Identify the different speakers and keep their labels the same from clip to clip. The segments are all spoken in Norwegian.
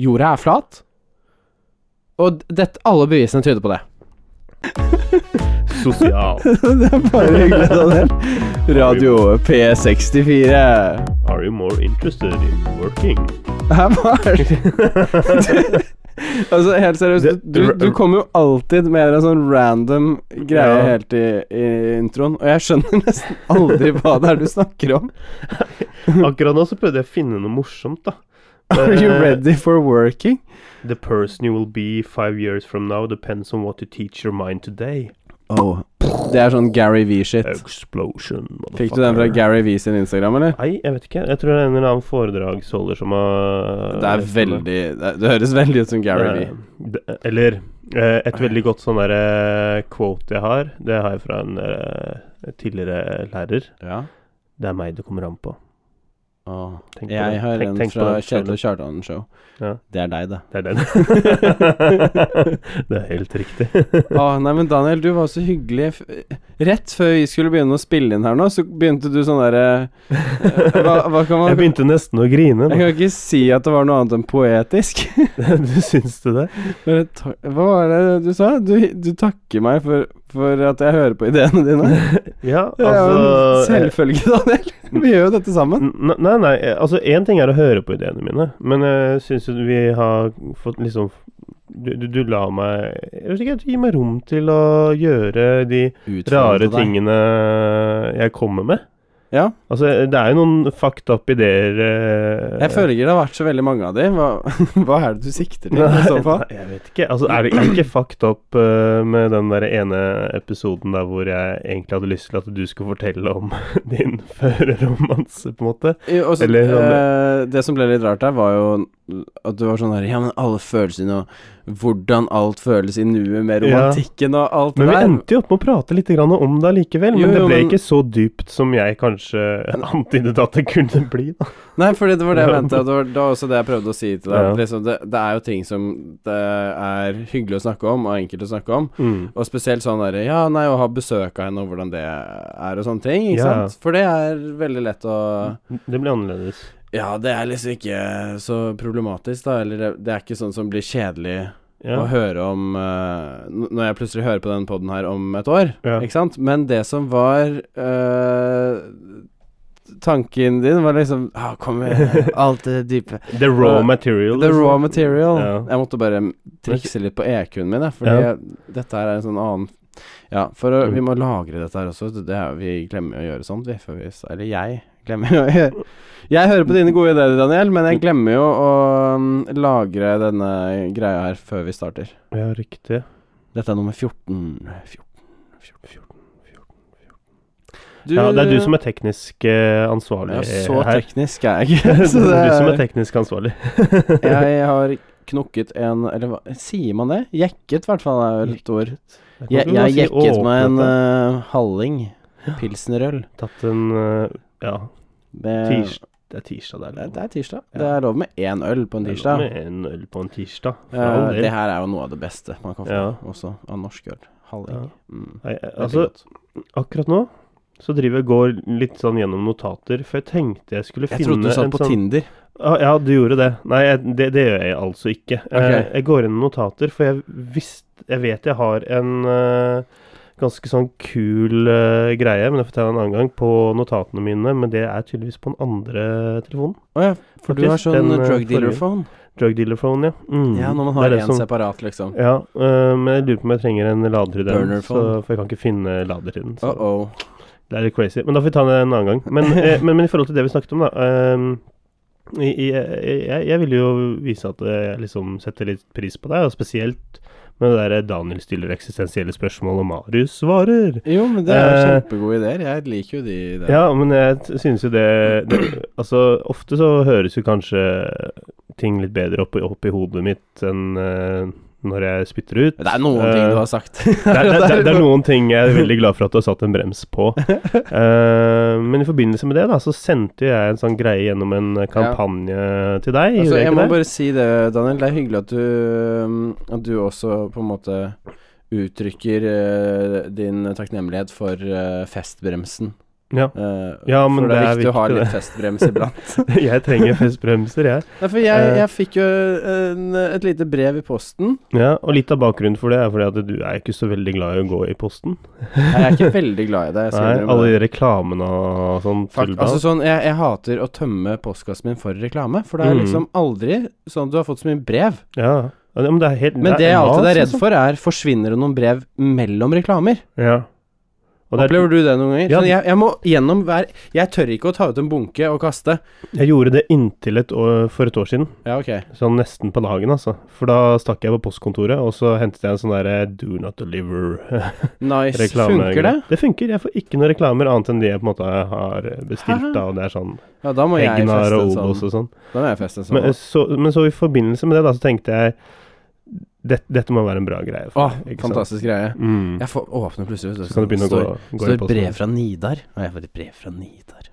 Speaker 1: Jorda er flat. Og d- dette, alle bevisene tyder på det.
Speaker 2: Sosial.
Speaker 1: det er bare hyggelig, Daniel. Radio P64.
Speaker 2: Are you more interested in working?
Speaker 1: Her var Altså, helt seriøst,
Speaker 2: Det-
Speaker 1: du, du kommer jo alltid med en sånn random greie
Speaker 2: Ja.
Speaker 1: helt i, i introen, og jeg skjønner nesten aldri hva det er du snakker om.
Speaker 2: Akkurat nå så prøvde jeg å finne noe morsomt, da.
Speaker 1: Are you
Speaker 2: Eh,
Speaker 1: ready for working?
Speaker 2: The person you will be five years from now depends on what you teach your mind today.
Speaker 1: Oh. Det er sånn Gary V-shit.
Speaker 2: Explosion, motherfucker.
Speaker 1: Fikk du den fra Gary V sin Instagram, eller?
Speaker 2: Nei, jeg vet ikke. Jeg tror det er en eller annen foredragsholder som har
Speaker 1: Det er veldig Det, det høres veldig ut som Gary V.
Speaker 2: Det er- Eller eh, et veldig godt sånn derre quote jeg har, det har jeg fra en eh, tidligere lærer.
Speaker 1: Ja.
Speaker 2: Det er meg det kommer an på.
Speaker 1: Åh.
Speaker 2: Tenk på
Speaker 1: Jeg
Speaker 2: det.
Speaker 1: har
Speaker 2: Tenk-
Speaker 1: en
Speaker 2: tenk på
Speaker 1: fra
Speaker 2: den
Speaker 1: Kjetil
Speaker 2: selv.
Speaker 1: og Kjartan Show.
Speaker 2: Ja.
Speaker 1: Det er deg, det.
Speaker 2: Det er den. det er helt riktig.
Speaker 1: Å, nei, men Daniel, du var så hyggelig. F- eh, Rett før vi skulle begynne å spille inn her nå, så begynte du sånn derre eh, hva, hva kan man
Speaker 2: Jeg begynte nesten å grine.
Speaker 1: Jeg
Speaker 2: nå.
Speaker 1: kan ikke si at det var noe annet enn poetisk.
Speaker 2: Du syns du det?
Speaker 1: Men ta, hva var det du sa? Du, du takker meg for, for at jeg hører på ideene dine.
Speaker 2: Ja,
Speaker 1: Det er jo en
Speaker 2: altså eh,
Speaker 1: selvfølge, Daniel. Vi gjør jo dette sammen.
Speaker 2: n- Nei, nei. eh, Altså, én ting er å høre på ideene mine, men jeg syns jo vi har fått liksom du, du, du la meg Jeg vet ikke, du gir meg rom til å gjøre de rare tingene jeg kommer med.
Speaker 1: Ja.
Speaker 2: Altså, det er jo noen fucked up ideer eh,
Speaker 1: Jeg føler ikke det har vært så veldig mange av de. Hva, hva er det du sikter til, i så fall?
Speaker 2: Nei, jeg vet ikke. Altså, er det er det ikke fucked up eh, med den der ene episoden der hvor jeg egentlig hadde lyst til at du skulle fortelle om din førerromanse, på en måte?
Speaker 1: Jo, og så,
Speaker 2: Eller sånn,
Speaker 1: eh, det som ble litt rart der, var jo at du var sånn her Ja, men alle følelsene og hvordan alt føles i nuet med
Speaker 2: Ja.
Speaker 1: romantikken og alt det
Speaker 2: Men vi
Speaker 1: der.
Speaker 2: endte jo opp med å prate litt grann om det likevel.
Speaker 1: Jo,
Speaker 2: Men det
Speaker 1: jo,
Speaker 2: ble
Speaker 1: men-
Speaker 2: ikke så dypt som jeg kanskje antydet at det kunne bli. Da.
Speaker 1: Nei, fordi det var det jeg mente. og Det var, det var også det jeg prøvde å si til deg. at
Speaker 2: Ja.
Speaker 1: Liksom, det, det er jo ting som det er hyggelig å snakke om, og enkelt å snakke om. Og spesielt sånn derre Ja, nei, å ha besøk av henne, og hvordan det er, og sånne ting. Ikke
Speaker 2: Ja.
Speaker 1: sant? For det er veldig lett å
Speaker 2: Mm. Det ble annerledes.
Speaker 1: Ja, det er liksom ikke så problematisk, da. Eller det, det er ikke sånn som blir kjedelig
Speaker 2: Ja.
Speaker 1: å høre om eh, n- Når jeg plutselig hører på den poden her om et år,
Speaker 2: Ja.
Speaker 1: ikke sant? Men det som var eh, Tanken din var liksom ah, Kom igjen, alt det dype.
Speaker 2: The raw material.
Speaker 1: The raw
Speaker 2: liksom.
Speaker 1: material.
Speaker 2: Ja.
Speaker 1: Jeg måtte bare trikse litt på EQ-en min, jeg, fordi
Speaker 2: Ja.
Speaker 1: dette her er en sånn annen Ja, for å,
Speaker 2: Mm.
Speaker 1: vi må lagre dette her også. Det er, vi glemmer å gjøre sånt, vi. For vi eller jeg glemmer å gjøre Jeg hører på dine gode ideer, Daniel, men jeg glemmer jo å mm, lagre denne greia her før vi starter.
Speaker 2: Ja, riktig.
Speaker 1: Dette er nummer 14. 14, 14, 14
Speaker 2: Ja, det er du som er teknisk eh, ansvarlig
Speaker 1: ja, Så
Speaker 2: her.
Speaker 1: teknisk er jeg
Speaker 2: det
Speaker 1: ikke.
Speaker 2: er
Speaker 1: så det
Speaker 2: du som er
Speaker 1: er-
Speaker 2: teknisk ansvarlig.
Speaker 1: jeg har knokket en Eller hva sier man det? Jekket, i hvert fall, er vel et ord. Jeg, jeg jekket meg en eh, halling. Pilsnerøl.
Speaker 2: Tatt en eh, Ja,
Speaker 1: Det,
Speaker 2: tirs, det er tirsdag der.
Speaker 1: det,
Speaker 2: eller
Speaker 1: Eh, det
Speaker 2: noe.
Speaker 1: er tirsdag.
Speaker 2: Ja.
Speaker 1: Det er lov med én øl på en
Speaker 2: Det er
Speaker 1: tirsdag.
Speaker 2: lov Med en øl på en tirsdag. for all
Speaker 1: Eh,
Speaker 2: del.
Speaker 1: det her er jo noe av det beste man kan få
Speaker 2: Ja.
Speaker 1: også, av norsk øl. Halling.
Speaker 2: Ja.
Speaker 1: Mm.
Speaker 2: Nei, eh,
Speaker 1: Veldig
Speaker 2: altså,
Speaker 1: godt.
Speaker 2: akkurat nå så driver jeg og går litt sånn gjennom notater, for jeg tenkte jeg skulle
Speaker 1: jeg
Speaker 2: finne
Speaker 1: trodde du sa
Speaker 2: en
Speaker 1: på
Speaker 2: sånn-
Speaker 1: Tinder.
Speaker 2: Ah, ja, du gjorde det. Nei, jeg, det, det gjør jeg altså ikke. Jeg,
Speaker 1: Ok.
Speaker 2: jeg går inn i notater, for jeg, visst, jeg vet jeg har en eh, ganske sånn kul eh, greie, men jeg forteller en annen gang, på notatene mine, men det er tydeligvis på den andre telefonen.
Speaker 1: Å ja, for du
Speaker 2: Faktisk,
Speaker 1: har sånn
Speaker 2: den, eh,
Speaker 1: drug
Speaker 2: forrige.
Speaker 1: dealer-phone.
Speaker 2: Drug dealer phone, ja. Mm.
Speaker 1: Ja, når man
Speaker 2: Det
Speaker 1: har
Speaker 2: er det
Speaker 1: én
Speaker 2: som-
Speaker 1: separat, liksom.
Speaker 2: Ja, eh, men jeg lurer på om jeg trenger en lader i den,
Speaker 1: Burner
Speaker 2: så,
Speaker 1: phone.
Speaker 2: for jeg kan ikke finne lader i den. Så.
Speaker 1: Uh-oh.
Speaker 2: Det er litt crazy, men da får vi ta det en annen gang. Men, eh, men, men i forhold til det vi snakket om, da. ehm, i, i, eh, jeg, jeg ville jo vise at jeg liksom setter litt pris på deg, og spesielt med det der Daniel stiller eksistensielle spørsmål, og Marius svarer.
Speaker 1: Jo, men det er jo
Speaker 2: Eh,
Speaker 1: kjempegode ideer. Jeg liker jo de ideene.
Speaker 2: Ja, men jeg t- synes jo det, det Altså, ofte så høres jo kanskje ting litt bedre opp, i- opp i hodet mitt enn eh, når jeg spytter ut.
Speaker 1: Det er noen ting
Speaker 2: Eh,
Speaker 1: du har sagt.
Speaker 2: det, er- det, er- det er noen ting jeg er veldig glad for at du har satt en brems på. Eh, men i forbindelse med det, da, så sendte jeg en sånn greie gjennom en kampanje til deg. gjorde
Speaker 1: Altså,
Speaker 2: jeg
Speaker 1: jeg
Speaker 2: ikke
Speaker 1: må
Speaker 2: det?
Speaker 1: bare si det, Daniel. Det er hyggelig at du, um, at du også på en måte uttrykker eh, din takknemlighet for eh, festbremsen
Speaker 2: Ja.
Speaker 1: Eh,
Speaker 2: Ja, men
Speaker 1: for det er viktig å ha
Speaker 2: viktig,
Speaker 1: litt
Speaker 2: det.
Speaker 1: festbrems iblant.
Speaker 2: Jeg trenger festbremser, jeg.
Speaker 1: Nei, for jeg,
Speaker 2: Eh.
Speaker 1: jeg fikk jo eh, en, et lite brev i posten.
Speaker 2: Ja, og litt av bakgrunnen for det er fordi at du er ikke så veldig glad i å gå i posten.
Speaker 1: Nei, Jeg er ikke veldig glad i det. Jeg skal
Speaker 2: Nei,
Speaker 1: innrømme
Speaker 2: alle
Speaker 1: det.
Speaker 2: de reklamene og sånn.
Speaker 1: Fakt,
Speaker 2: tullball.
Speaker 1: altså sånn, jeg, jeg hater å tømme postkassen min for reklame, for det er
Speaker 2: Mm.
Speaker 1: liksom aldri sånn at du har fått så mye brev.
Speaker 2: ja. ja, men det er helt
Speaker 1: Men det jeg alltid er redd
Speaker 2: altså.
Speaker 1: for, er forsvinner det noen brev mellom reklamer?
Speaker 2: Ja. Og det er,
Speaker 1: Opplever du det noen ganger?
Speaker 2: Ja.
Speaker 1: Sånn, jeg, jeg må gjennom hver Jeg tør ikke å ta ut en bunke og kaste.
Speaker 2: jeg gjorde det inntil et år, for et år siden.
Speaker 1: Ja, ok.
Speaker 2: Sånn nesten på dagen, altså. For da stakk jeg på postkontoret, og så hentet jeg en sånn derre Do not deliver-reklame.
Speaker 1: Nice. Funker det?
Speaker 2: Det funker. Jeg får ikke noen reklamer annet enn de jeg på en måte har eh, bestilt,
Speaker 1: Hæ?
Speaker 2: da. Og det er sånn
Speaker 1: Ja, da må jeg
Speaker 2: Egnar
Speaker 1: feste en
Speaker 2: og
Speaker 1: sånn.
Speaker 2: Obos og sånn.
Speaker 1: Da må jeg feste en sånn.
Speaker 2: Men så, men så i forbindelse med det, da, så tenkte jeg det, Dette må være en bra greie.
Speaker 1: Å,
Speaker 2: meg, ikke sant?
Speaker 1: fantastisk greie.
Speaker 2: Mm.
Speaker 1: Jeg får åpne plutselig, vet
Speaker 2: Så kan du begynne å gå,
Speaker 1: Står-
Speaker 2: gå sånn. i
Speaker 1: står
Speaker 2: posten.
Speaker 1: brev fra Nidar. Og jeg får et brev fra Nidar.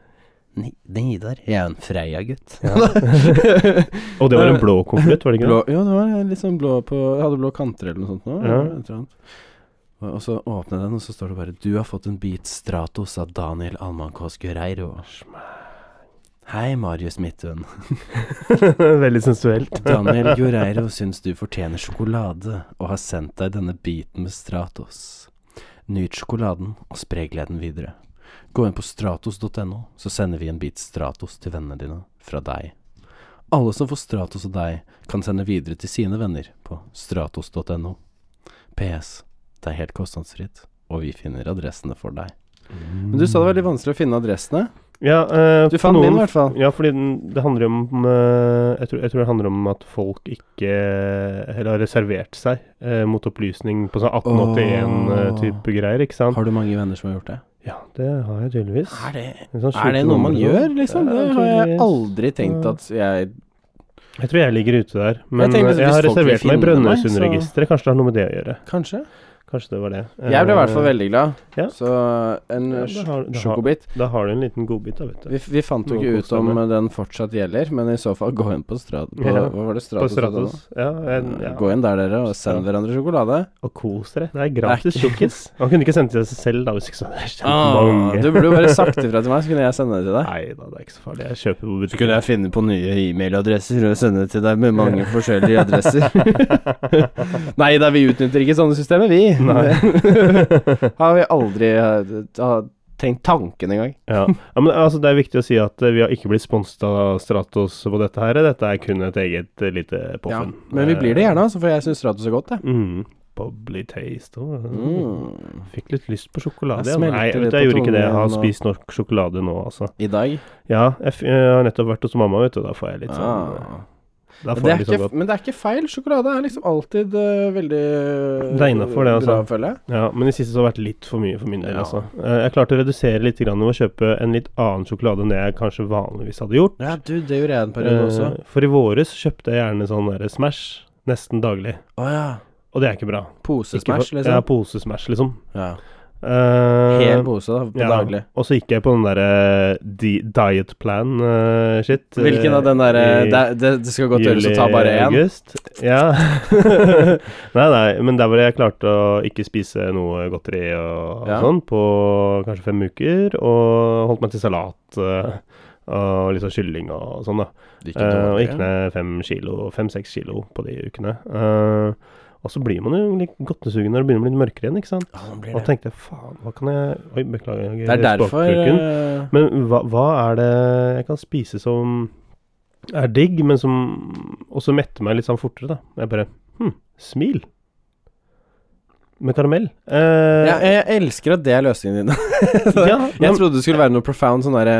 Speaker 1: Ni Nidar? Jeg er jo en Freia-gutt.
Speaker 2: Og det var en blå konvolutt, var det ikke det?
Speaker 1: Blå, jo, det var litt sånn blå på Jeg hadde blå kanter eller noe sånt nå.
Speaker 2: Ja.
Speaker 1: eller et eller annet. Og- Og så åpner jeg den, og så står det bare 'Du har fått en bit Stratos av Daniel Alman Kåss Guerreiro'. Hei, Marius Midthun.
Speaker 2: Veldig sensuelt.
Speaker 1: Daniel Guerreiro syns du fortjener sjokolade, og har sendt deg denne biten med Stratos. Nyt sjokoladen, og spre gleden videre. Gå inn på stratos.no, så sender vi en bit Stratos til vennene dine fra deg. Alle som får Stratos av deg, kan sende videre til sine venner på stratos.no. PS. Det er helt kostnadsfritt, og vi finner adressene for deg. Men du sa det var veldig vanskelig å finne adressene.
Speaker 2: Ja, eh,
Speaker 1: Du
Speaker 2: for
Speaker 1: fant min, i
Speaker 2: noen-
Speaker 1: hvert fall.
Speaker 2: Ja, fordi den, det handler jo om eh, jeg tror, jeg tror det handler om at folk ikke Eller har reservert seg eh, mot opplysning på sånn 1881-type greier, ikke sant?
Speaker 1: Har du mange venner som har gjort det?
Speaker 2: Ja, det har jeg tydeligvis.
Speaker 1: Er det
Speaker 2: En sånn
Speaker 1: Er det
Speaker 2: skjulte
Speaker 1: noe man
Speaker 2: nummer,
Speaker 1: gjør,
Speaker 2: da.
Speaker 1: liksom?
Speaker 2: Ja,
Speaker 1: Det har jeg
Speaker 2: tydeligvis.
Speaker 1: aldri tenkt at jeg
Speaker 2: Jeg tror jeg ligger ute der. Men
Speaker 1: tenker hvis
Speaker 2: jeg, har
Speaker 1: folk vil
Speaker 2: reservert meg i
Speaker 1: finne meg, så-
Speaker 2: Brønnøysundregisteret. Kanskje det har noe med det å gjøre.
Speaker 1: Kanskje.
Speaker 2: Kanskje det var det.
Speaker 1: Jeg ble i hvert fall
Speaker 2: Eh,
Speaker 1: veldig glad.
Speaker 2: ja.
Speaker 1: Så en
Speaker 2: Ja,
Speaker 1: eh,
Speaker 2: det har- det
Speaker 1: sj-
Speaker 2: har-
Speaker 1: sjokobit.
Speaker 2: Da har du en liten godbit, da, vet du.
Speaker 1: Vi, vi fant jo
Speaker 2: Noe
Speaker 1: ikke ut
Speaker 2: koselig
Speaker 1: om
Speaker 2: med.
Speaker 1: eh, den fortsatt gjelder, men i så fall gå inn på Strat... På,
Speaker 2: Ja.
Speaker 1: Hva var det?
Speaker 2: På
Speaker 1: Stratos?
Speaker 2: Stratos. Ja, en, ja.
Speaker 1: Gå inn der, dere, og send
Speaker 2: Strat-
Speaker 1: hverandre sjokolade.
Speaker 2: Og kos dere. Det er gratis
Speaker 1: Det er ikke-
Speaker 2: tjukkis. Han kunne ikke sendt det til seg selv, da, hvis ikke så hadde jeg kjent
Speaker 1: Ah,
Speaker 2: mange.
Speaker 1: du burde jo bare sagt ifra til meg, så kunne jeg sende det til deg.
Speaker 2: Nei da, det er ikke så farlig. Jeg kjøper på butikken.
Speaker 1: Skulle jeg finne på nye e-mailadresser og sende det til deg med mange forskjellige adresser? Nei da, vi utnytter ikke sånne systemer, vi.
Speaker 2: Nei.
Speaker 1: har vi aldri eh, ta- tenkt tanken engang.
Speaker 2: ja. ja, men altså, Det er viktig å si at eh, vi har ikke blitt sponset av Stratos på dette her. Dette er kun et eget eh, lite
Speaker 1: Ja,
Speaker 2: poffen.
Speaker 1: men vi blir det gjerne, altså, for jeg syns Stratos er godt, jeg.
Speaker 2: Mm. Bubbly taste òg.
Speaker 1: Mm.
Speaker 2: Fikk litt lyst på sjokolade.
Speaker 1: Jeg
Speaker 2: ja.
Speaker 1: smelter
Speaker 2: Nei, jeg,
Speaker 1: litt
Speaker 2: vet, du, jeg
Speaker 1: på
Speaker 2: gjorde ikke det. Jeg har
Speaker 1: tungen og-
Speaker 2: spist nok sjokolade nå, altså.
Speaker 1: I dag.
Speaker 2: Ja, jeg, f jeg har nettopp vært hos mamma, vet du. Da får jeg litt sånn eh,
Speaker 1: Ah. Men
Speaker 2: Da får
Speaker 1: det,
Speaker 2: jeg
Speaker 1: er
Speaker 2: litt sånn
Speaker 1: ikke,
Speaker 2: godt.
Speaker 1: men det er ikke feil. Sjokolade er liksom alltid eh, veldig
Speaker 2: Det er innenfor det, altså.
Speaker 1: bra å følge.
Speaker 2: Ja, men i siste så har det vært litt for mye for min del,
Speaker 1: Ja.
Speaker 2: altså. Eh, Jeg klarte å redusere litt grann ved å kjøpe en litt annen sjokolade enn det jeg kanskje vanligvis hadde gjort.
Speaker 1: Ja, du, det gjorde jeg en periode også.
Speaker 2: Eh, For i våres kjøpte jeg gjerne sånn derre Smash nesten daglig.
Speaker 1: Å ja.
Speaker 2: Og det er ikke bra. Ikke
Speaker 1: Posesmash,
Speaker 2: for- Ja,
Speaker 1: liksom.
Speaker 2: posesmash, liksom.
Speaker 1: Ja.
Speaker 2: Eh,
Speaker 1: Hel pose, da, på daglig.
Speaker 2: Og så gikk jeg på den derre di diet plan eh, shit. eh,
Speaker 1: Hvilken av den derre
Speaker 2: i
Speaker 1: det, det, det skal godt gjøres å ta bare én.
Speaker 2: August. Ja. nei, nei, men der hvor jeg klarte å ikke spise noe godteri og, og
Speaker 1: Ja.
Speaker 2: sånn på kanskje fem uker, og holdt meg til salat eh, og litt sånn kylling og sånn, da.
Speaker 1: Det gikk
Speaker 2: Eh, og
Speaker 1: dårlig.
Speaker 2: gikk ned fem kilo, fem-seks kilo på de ukene. Eh, og så blir man jo litt godtesugen når det begynner å bli litt mørkere igjen, ikke sant.
Speaker 1: Ja, man
Speaker 2: Og
Speaker 1: blir
Speaker 2: da
Speaker 1: det.
Speaker 2: tenkte jeg faen, hva kan jeg Oi, beklager.
Speaker 1: det er derfor
Speaker 2: språkbruken.
Speaker 1: eh,
Speaker 2: Men hva, hva er det jeg kan spise som er digg, men som også metter meg litt sånn fortere, da? Jeg bare Hm, smil. Med karamell. Eh,
Speaker 1: ja, jeg, jeg elsker at det er løsningen din.
Speaker 2: ja,
Speaker 1: Jeg
Speaker 2: men-
Speaker 1: trodde det skulle være noe profound sånn derre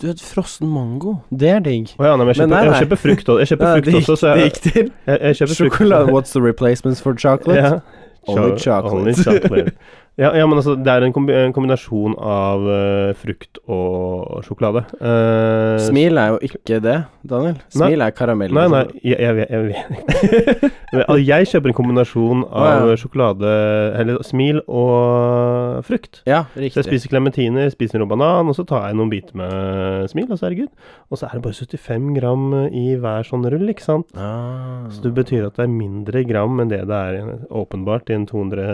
Speaker 1: Du, et frossen mango, det er digg.
Speaker 2: Å ja, nei, men jeg
Speaker 1: Men
Speaker 2: kjøper,
Speaker 1: nei, nei.
Speaker 2: jeg kjøper frukt, også- jeg kjøper
Speaker 1: Ja,
Speaker 2: frukt
Speaker 1: det, gikk,
Speaker 2: også, så
Speaker 1: det
Speaker 2: jeg,
Speaker 1: gikk til
Speaker 2: jeg, jeg kjøper frukt.
Speaker 1: sjokolade. What's the replacements for chocolate?
Speaker 2: Ja.
Speaker 1: Only
Speaker 2: Cho-
Speaker 1: chocolate.
Speaker 2: only chocolate. ja, ja, men altså, det er en, kombi en kombinasjon av eh, frukt og sjokolade. Eh,
Speaker 1: Smil er jo ikke det, Daniel. Smil er karamell.
Speaker 2: Nei, nei,
Speaker 1: liksom.
Speaker 2: jeg, jeg, vet- jeg vet ikke. Men, altså, Jeg kjøper en kombinasjon av
Speaker 1: Å, ja.
Speaker 2: sjokolade, eller smil, og frukt.
Speaker 1: Ja,
Speaker 2: Så jeg
Speaker 1: riktig.
Speaker 2: spiser klementiner, spiser noe banan, og så tar jeg noen biter med smil, og så er det good. Og så er det bare 75 gram i hver sånn rull, ikke sant.
Speaker 1: Ah.
Speaker 2: Så det betyr at det er mindre gram enn det det er i- åpenbart i en 200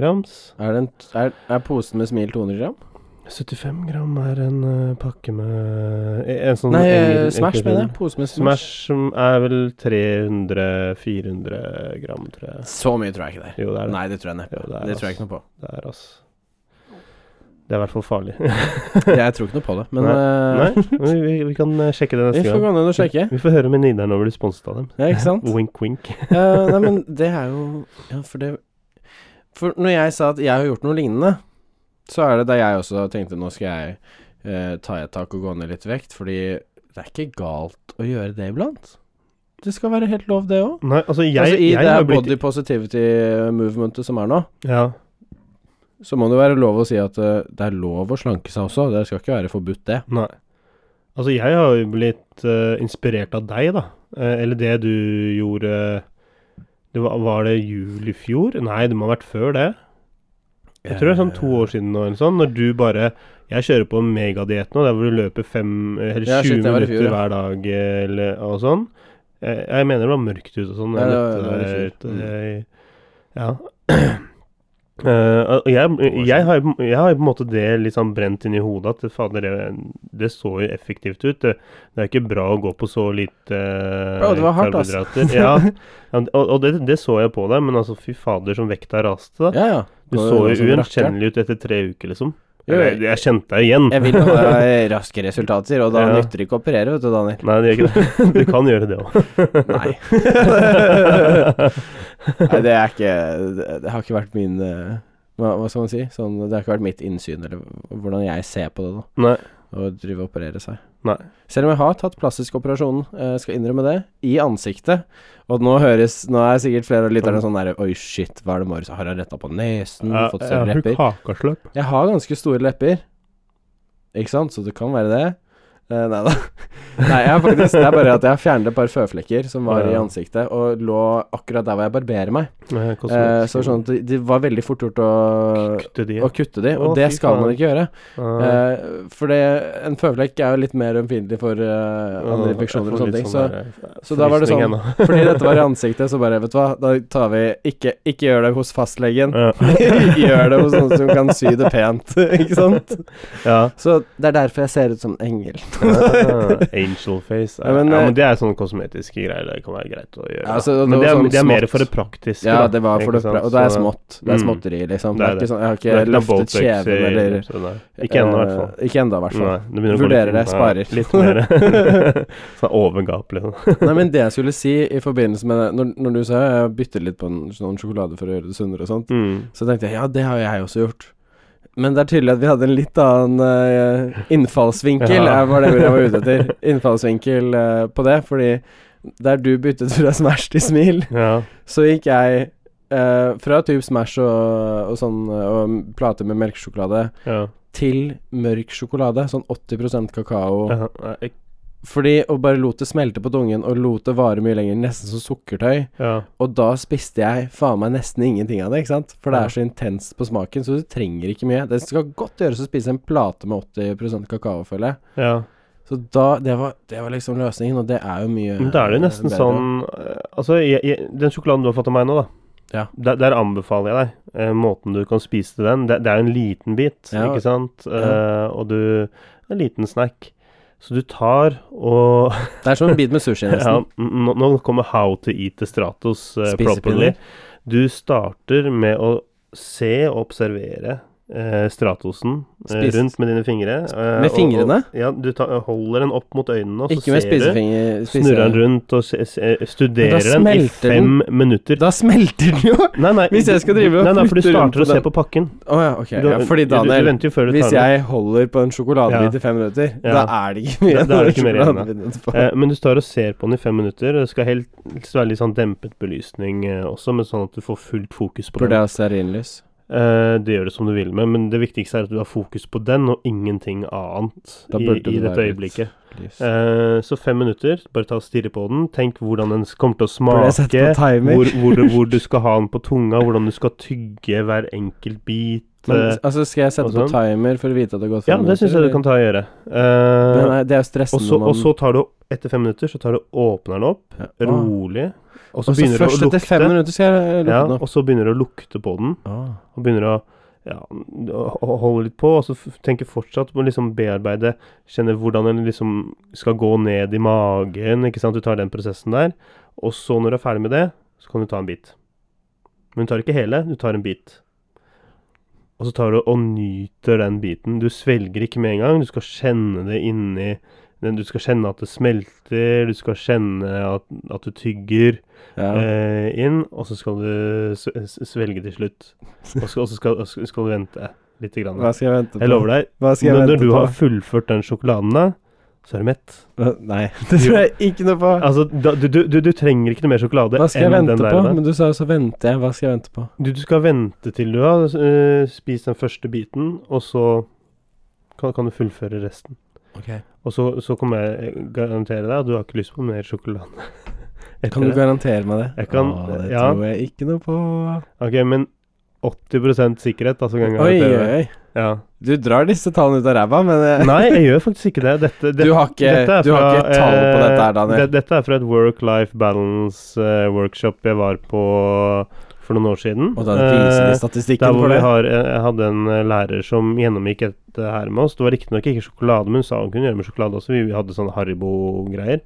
Speaker 2: grams. Mm,
Speaker 1: Er, det en, er, er posen med smil 200 gram?
Speaker 2: 75 gram er en eh, pakke med En sånn
Speaker 1: Nei, eh,
Speaker 2: engel-
Speaker 1: Smash,
Speaker 2: enkel-
Speaker 1: mener jeg. Pose med Smash.
Speaker 2: Smash som er vel 300-400 gram, tror jeg.
Speaker 1: Så mye tror jeg ikke det er.
Speaker 2: Jo, det er det.
Speaker 1: Nei, det tror jeg neppe.
Speaker 2: Jo, det er
Speaker 1: det tror jeg ikke noe på.
Speaker 2: Det er altså Det er i hvert fall farlig.
Speaker 1: Jeg tror ikke noe på det, men
Speaker 2: Nei,
Speaker 1: eh,
Speaker 2: vi, vi, vi kan eh, sjekke
Speaker 1: vi
Speaker 2: det neste
Speaker 1: får gå
Speaker 2: gang.
Speaker 1: ned og sjekke.
Speaker 2: Vi får høre om venninnene våre blir sponset av dem.
Speaker 1: Ja, ikke sant?
Speaker 2: Wink, wink.
Speaker 1: Eh, nei, men det er jo Ja, for det For når jeg sa at jeg har gjort noe lignende, så er det da jeg også tenkte nå skal jeg eh, ta et tak og gå ned litt i vekt, fordi det er ikke galt å gjøre det iblant. Det skal være helt lov, det òg.
Speaker 2: Nei, altså, jeg,
Speaker 1: Altså, I
Speaker 2: jeg
Speaker 1: det
Speaker 2: har
Speaker 1: her
Speaker 2: blitt
Speaker 1: body positivity-movementet som er nå,
Speaker 2: Ja.
Speaker 1: så må det være lov å si at eh, det er lov å slanke seg også. Det skal ikke være forbudt, det.
Speaker 2: Nei. Altså, jeg har jo blitt eh, inspirert av deg, da. Eh, eller det du gjorde det var, var det jul i fjor? Nei, det må ha vært før det. Jeg tror det er sånn to
Speaker 1: Eh.
Speaker 2: år siden nå, eller sånn, når du bare Jeg kjører på en megadiett nå, der hvor du løper fem eller 20
Speaker 1: Ja, shit, det var i
Speaker 2: minutter
Speaker 1: fjor, ja.
Speaker 2: hver dag eh, eller, og sånn. Jeg, jeg mener det var mørkt ute og sånn.
Speaker 1: Nei,
Speaker 2: jeg
Speaker 1: det var- det var
Speaker 2: lette
Speaker 1: Mm. i
Speaker 2: der
Speaker 1: fjor.
Speaker 2: ute, jeg- Ja. Eh, og jeg, jeg, har, jo- jeg har jo på en måte det litt sånn brent inn i hodet at fader, det- det så jo effektivt ut. Det, det er ikke bra å gå på så lite eh,
Speaker 1: Bro, det var hardt, ass.
Speaker 2: karbohydrater. Ja, ja, og, og det, det så jeg på deg, men altså fy fader som vekta raste. da.
Speaker 1: Ja, ja.
Speaker 2: Du
Speaker 1: Går
Speaker 2: så
Speaker 1: det
Speaker 2: jo
Speaker 1: sånn
Speaker 2: ugjenkjennelig ut etter tre uker, liksom.
Speaker 1: Jo,
Speaker 2: Eller,
Speaker 1: jeg-
Speaker 2: jeg, kjente deg igjen.
Speaker 1: Jeg vil ha raske resultater, og da
Speaker 2: Ja.
Speaker 1: nytter det ikke å operere, vet du, Daniel.
Speaker 2: Nei, det gjør ikke det. Du kan gjøre det òg.
Speaker 1: Nei. Nei, det er ikke Det det har ikke vært min eh, hva, hva skal man si? Sånn, det har ikke vært mitt innsyn, eller hvordan jeg ser på det, da.
Speaker 2: Nei.
Speaker 1: Å drive og operere seg.
Speaker 2: Nei.
Speaker 1: Selv om jeg har tatt plastisk operasjon, eh, skal innrømme det, i ansiktet. Og nå høres Nå er sikkert flere av lytterne sånn der Oi, shit, hva er det Marius har? Har han retta på nesen? fått større lepper?
Speaker 2: kakasløp.
Speaker 1: Jeg har ganske store lepper. Ikke sant? Så det kan være det. Eh, nei da. Nei, jeg har faktisk, det er bare at jeg har fjernet et par føflekker som var i
Speaker 2: Ja.
Speaker 1: ansiktet, og lå akkurat der hvor jeg barberer meg. Eh, så sånn at det- det var veldig fort gjort å,
Speaker 2: Kutte de.
Speaker 1: å kutte de, og
Speaker 2: Å,
Speaker 1: det
Speaker 2: fy
Speaker 1: skal man
Speaker 2: faen.
Speaker 1: ikke gjøre.
Speaker 2: Ah,
Speaker 1: Eh, for det, en føflekk er jo litt mer ømfintlig for eh, andre
Speaker 2: ah, jeg
Speaker 1: infeksjoner og
Speaker 2: får
Speaker 1: sånne
Speaker 2: litt
Speaker 1: ting.
Speaker 2: sånn
Speaker 1: Så
Speaker 2: der,
Speaker 1: så da var det
Speaker 2: frysning
Speaker 1: sånn- fordi dette var i ansiktet, så bare, vet du hva, da tar vi Ikke, ikke gjør det hos fastlegen.
Speaker 2: ennå.
Speaker 1: gjør det hos noen som kan sy det pent, ikke sant?
Speaker 2: ja.
Speaker 1: Så det er derfor jeg ser ut som engel.
Speaker 2: Ah, Angel face.
Speaker 1: Ja,
Speaker 2: Ja,
Speaker 1: men,
Speaker 2: men,
Speaker 1: eh,
Speaker 2: det er sånne kosmetiske greier det kan være greit å gjøre.
Speaker 1: Ja,
Speaker 2: da.
Speaker 1: så det
Speaker 2: men det er,
Speaker 1: var sånn
Speaker 2: det er mer
Speaker 1: smått.
Speaker 2: for det praktiske.
Speaker 1: Ja,
Speaker 2: da,
Speaker 1: det var for
Speaker 2: ikke
Speaker 1: det
Speaker 2: sant?
Speaker 1: pra- Og det er
Speaker 2: sånn. Så-
Speaker 1: smått. Det er
Speaker 2: Mm.
Speaker 1: småtteri, liksom.
Speaker 2: Det
Speaker 1: Det
Speaker 2: er
Speaker 1: er ikke
Speaker 2: det.
Speaker 1: sånn, jeg har
Speaker 2: Det
Speaker 1: ikke
Speaker 2: er ikke noe
Speaker 1: løftet
Speaker 2: Botox i-
Speaker 1: kjeven eller
Speaker 2: så sånn, nei. Ikke ennå, i hvert fall. Mm.
Speaker 1: Eh, Ikke ennå, i hvert fall.
Speaker 2: Nei, det begynner å gå
Speaker 1: Vurderer det,
Speaker 2: litt- nei,
Speaker 1: sparer.
Speaker 2: Litt mer sånn overgap, liksom.
Speaker 1: Nei, men det jeg skulle si i forbindelse med det Når, når du sa jeg bytter litt på en sånn sjokolade for å gjøre det sunnere og sånt,
Speaker 2: Mm.
Speaker 1: så tenkte jeg ja, det har jeg også gjort. Men det er tydelig at vi hadde en litt annen eh, innfallsvinkel,
Speaker 2: Ja.
Speaker 1: eh, var det ordet jeg var ute etter. Innfallsvinkel eh, på det, fordi der du byttet fra Smash til Smil,
Speaker 2: Ja.
Speaker 1: Så gikk jeg eh, fra typ Smash og, og sånn og plate med melkesjokolade
Speaker 2: ja.
Speaker 1: til mørk sjokolade, sånn 80 kakao.
Speaker 2: ja. Nei,
Speaker 1: Fordi å bare lot det smelte på tungen og lot det vare mye lenger, nesten som sukkertøy.
Speaker 2: ja.
Speaker 1: Og da spiste jeg faen meg nesten ingenting av det, ikke sant? For det
Speaker 2: Ja.
Speaker 1: er så intenst på smaken, så du trenger ikke mye. Det skal godt gjøres å spise en plate med 80 kakao, føler jeg.
Speaker 2: ja.
Speaker 1: Så da Det var, det var liksom løsningen, og det er jo mye
Speaker 2: Men da er det jo nesten
Speaker 1: bedre.
Speaker 2: sånn eh, Altså, jeg, jeg, den sjokoladen du har fått av meg nå, da.
Speaker 1: Ja.
Speaker 2: Der, der anbefaler jeg deg eh, måten du kan spise til den. Det, det er jo en liten bit,
Speaker 1: Ja.
Speaker 2: ikke sant? Eh, og du En liten snack. Så du tar og
Speaker 1: Det er som en bit med sushi,
Speaker 2: ja,
Speaker 1: nesten.
Speaker 2: nå, nå kommer How to eat the stratos eh,
Speaker 1: Spisepinner.
Speaker 2: properly. Du starter med å se og observere eh, stratosen eh,
Speaker 1: Spis-
Speaker 2: rundt med dine fingre. eh,
Speaker 1: med
Speaker 2: og-
Speaker 1: fingrene?
Speaker 2: Og, ja, du tar, holder den opp mot øynene, og
Speaker 1: Ikke
Speaker 2: så
Speaker 1: med
Speaker 2: ser du.
Speaker 1: spisefinger.
Speaker 2: Snurrer den
Speaker 1: spise-
Speaker 2: rundt og se, se, studerer den i
Speaker 1: smelter
Speaker 2: fem minutter.
Speaker 1: Da smelter den jo!
Speaker 2: Nei, nei,
Speaker 1: Hvis jeg skal drive og
Speaker 2: nei, nei, for du
Speaker 1: flytte rundt
Speaker 2: starter
Speaker 1: på
Speaker 2: å se
Speaker 1: den.
Speaker 2: på pakken.
Speaker 1: Å ja, ok.
Speaker 2: Du-
Speaker 1: ja, fordi
Speaker 2: du- Du, du
Speaker 1: Daniel,
Speaker 2: venter jo før du
Speaker 1: hvis
Speaker 2: tar den.
Speaker 1: jeg holder på en sjokoladebit
Speaker 2: Ja.
Speaker 1: i fem minutter,
Speaker 2: Ja.
Speaker 1: da er det ikke mye.
Speaker 2: Da- da er det ikke mer igjen, da.
Speaker 1: sjokoladebit etterpå.
Speaker 2: Eh, men du står og ser på den i fem minutter. og Det skal helt, helst være litt sånn dempet belysning eh, også, men sånn at du får fullt fokus på
Speaker 1: Burde jeg
Speaker 2: den.
Speaker 1: ha stearinlys?
Speaker 2: Eh, det gjør du som du vil med, men det viktigste er at du har fokus på den, og ingenting annet
Speaker 1: Da
Speaker 2: i,
Speaker 1: burde det
Speaker 2: i dette
Speaker 1: være litt
Speaker 2: øyeblikket.
Speaker 1: Lys.
Speaker 2: Eh, så fem minutter, bare ta og stirre på den. Tenk hvordan den s- kommer til å
Speaker 1: Burde jeg sette
Speaker 2: smake.
Speaker 1: på timer?
Speaker 2: hvor, hvor, du, hvor du skal ha den på tunga, hvordan du skal tygge hver enkelt bit.
Speaker 1: Men,
Speaker 2: eh,
Speaker 1: altså, skal jeg sette
Speaker 2: og
Speaker 1: på
Speaker 2: sånn.
Speaker 1: timer for å vite at det har gått
Speaker 2: ja,
Speaker 1: fem
Speaker 2: det syns jeg du kan ta og gjøre. Eh,
Speaker 1: Men nei, det er jo
Speaker 2: og,
Speaker 1: stressende
Speaker 2: så,
Speaker 1: når
Speaker 2: og
Speaker 1: man-
Speaker 2: så tar du etter fem minutter, så tar du åpner den opp,
Speaker 1: Ja. Å.
Speaker 2: rolig, og så
Speaker 1: Og så
Speaker 2: begynner du å
Speaker 1: først etter fem
Speaker 2: lukte.
Speaker 1: minutter skal jeg lukke
Speaker 2: Ja,
Speaker 1: den opp.
Speaker 2: og så begynner du å lukte på den,
Speaker 1: Å.
Speaker 2: og begynner å ja, å- å holde litt på, og så f- tenker fortsatt på å liksom bearbeide, kjenne hvordan en liksom skal gå ned i magen, ikke sant, du tar den prosessen der, og så når du er ferdig med det, så kan du ta en bit. Men du tar ikke hele, du tar en bit. Og så tar du og nyter den biten, du svelger ikke med en gang, du skal kjenne det inni, den- du skal kjenne at det smelter, du skal kjenne at, at du tygger,
Speaker 1: Ja.
Speaker 2: eh, inn, og så skal du s- s- svelge til slutt. Og så, og så skal, og så skal du vente litt. Grann.
Speaker 1: Hva skal jeg vente på?
Speaker 2: Jeg lover deg,
Speaker 1: Hva skal jeg
Speaker 2: når, når
Speaker 1: vente
Speaker 2: du
Speaker 1: på?
Speaker 2: har fullført den sjokoladen, da, så er du mett.
Speaker 1: Nei, det tror jeg ikke noe på.
Speaker 2: Altså, da, du, du, du, du trenger ikke noe mer sjokolade
Speaker 1: Hva skal jeg
Speaker 2: enn
Speaker 1: vente
Speaker 2: den der.
Speaker 1: på?
Speaker 2: da.
Speaker 1: Men du sa jo så venter jeg. Hva skal jeg vente på?
Speaker 2: Du, du skal vente til du har eh, spist den første biten, og så kan, kan du fullføre resten. Og så, så kommer jeg eh, garantere deg at du har ikke lyst på mer sjokolade. etter
Speaker 1: Kan du
Speaker 2: det.
Speaker 1: garantere meg det?
Speaker 2: Jeg kan-
Speaker 1: Å, det
Speaker 2: ja.
Speaker 1: tror jeg ikke noe på.
Speaker 2: Ok, men 80 sikkerhet, da, så kan jeg
Speaker 1: Oi,
Speaker 2: garantere det.
Speaker 1: oi.
Speaker 2: Ja.
Speaker 1: Du drar disse tallene ut av ræva, men eh,
Speaker 2: Nei, jeg gjør faktisk ikke det. Dette, det,
Speaker 1: du har ikke,
Speaker 2: dette er
Speaker 1: du har
Speaker 2: fra,
Speaker 1: ikke tall på
Speaker 2: eh,
Speaker 1: dette her, Daniel.
Speaker 2: det- dette er fra et work-life balance-workshop eh, jeg var på for noen år siden.
Speaker 1: Og da er det pinsen
Speaker 2: Eh,
Speaker 1: i
Speaker 2: der
Speaker 1: statistikken
Speaker 2: hvor
Speaker 1: for
Speaker 2: vi
Speaker 1: det.
Speaker 2: har, eh, jeg hadde en eh, lærer som gjennomgikk dette her med oss. Det var riktignok ikke sjokolade, men hun sa hun kunne gjøre med sjokolade også. Vi hadde sånne Haribo-greier.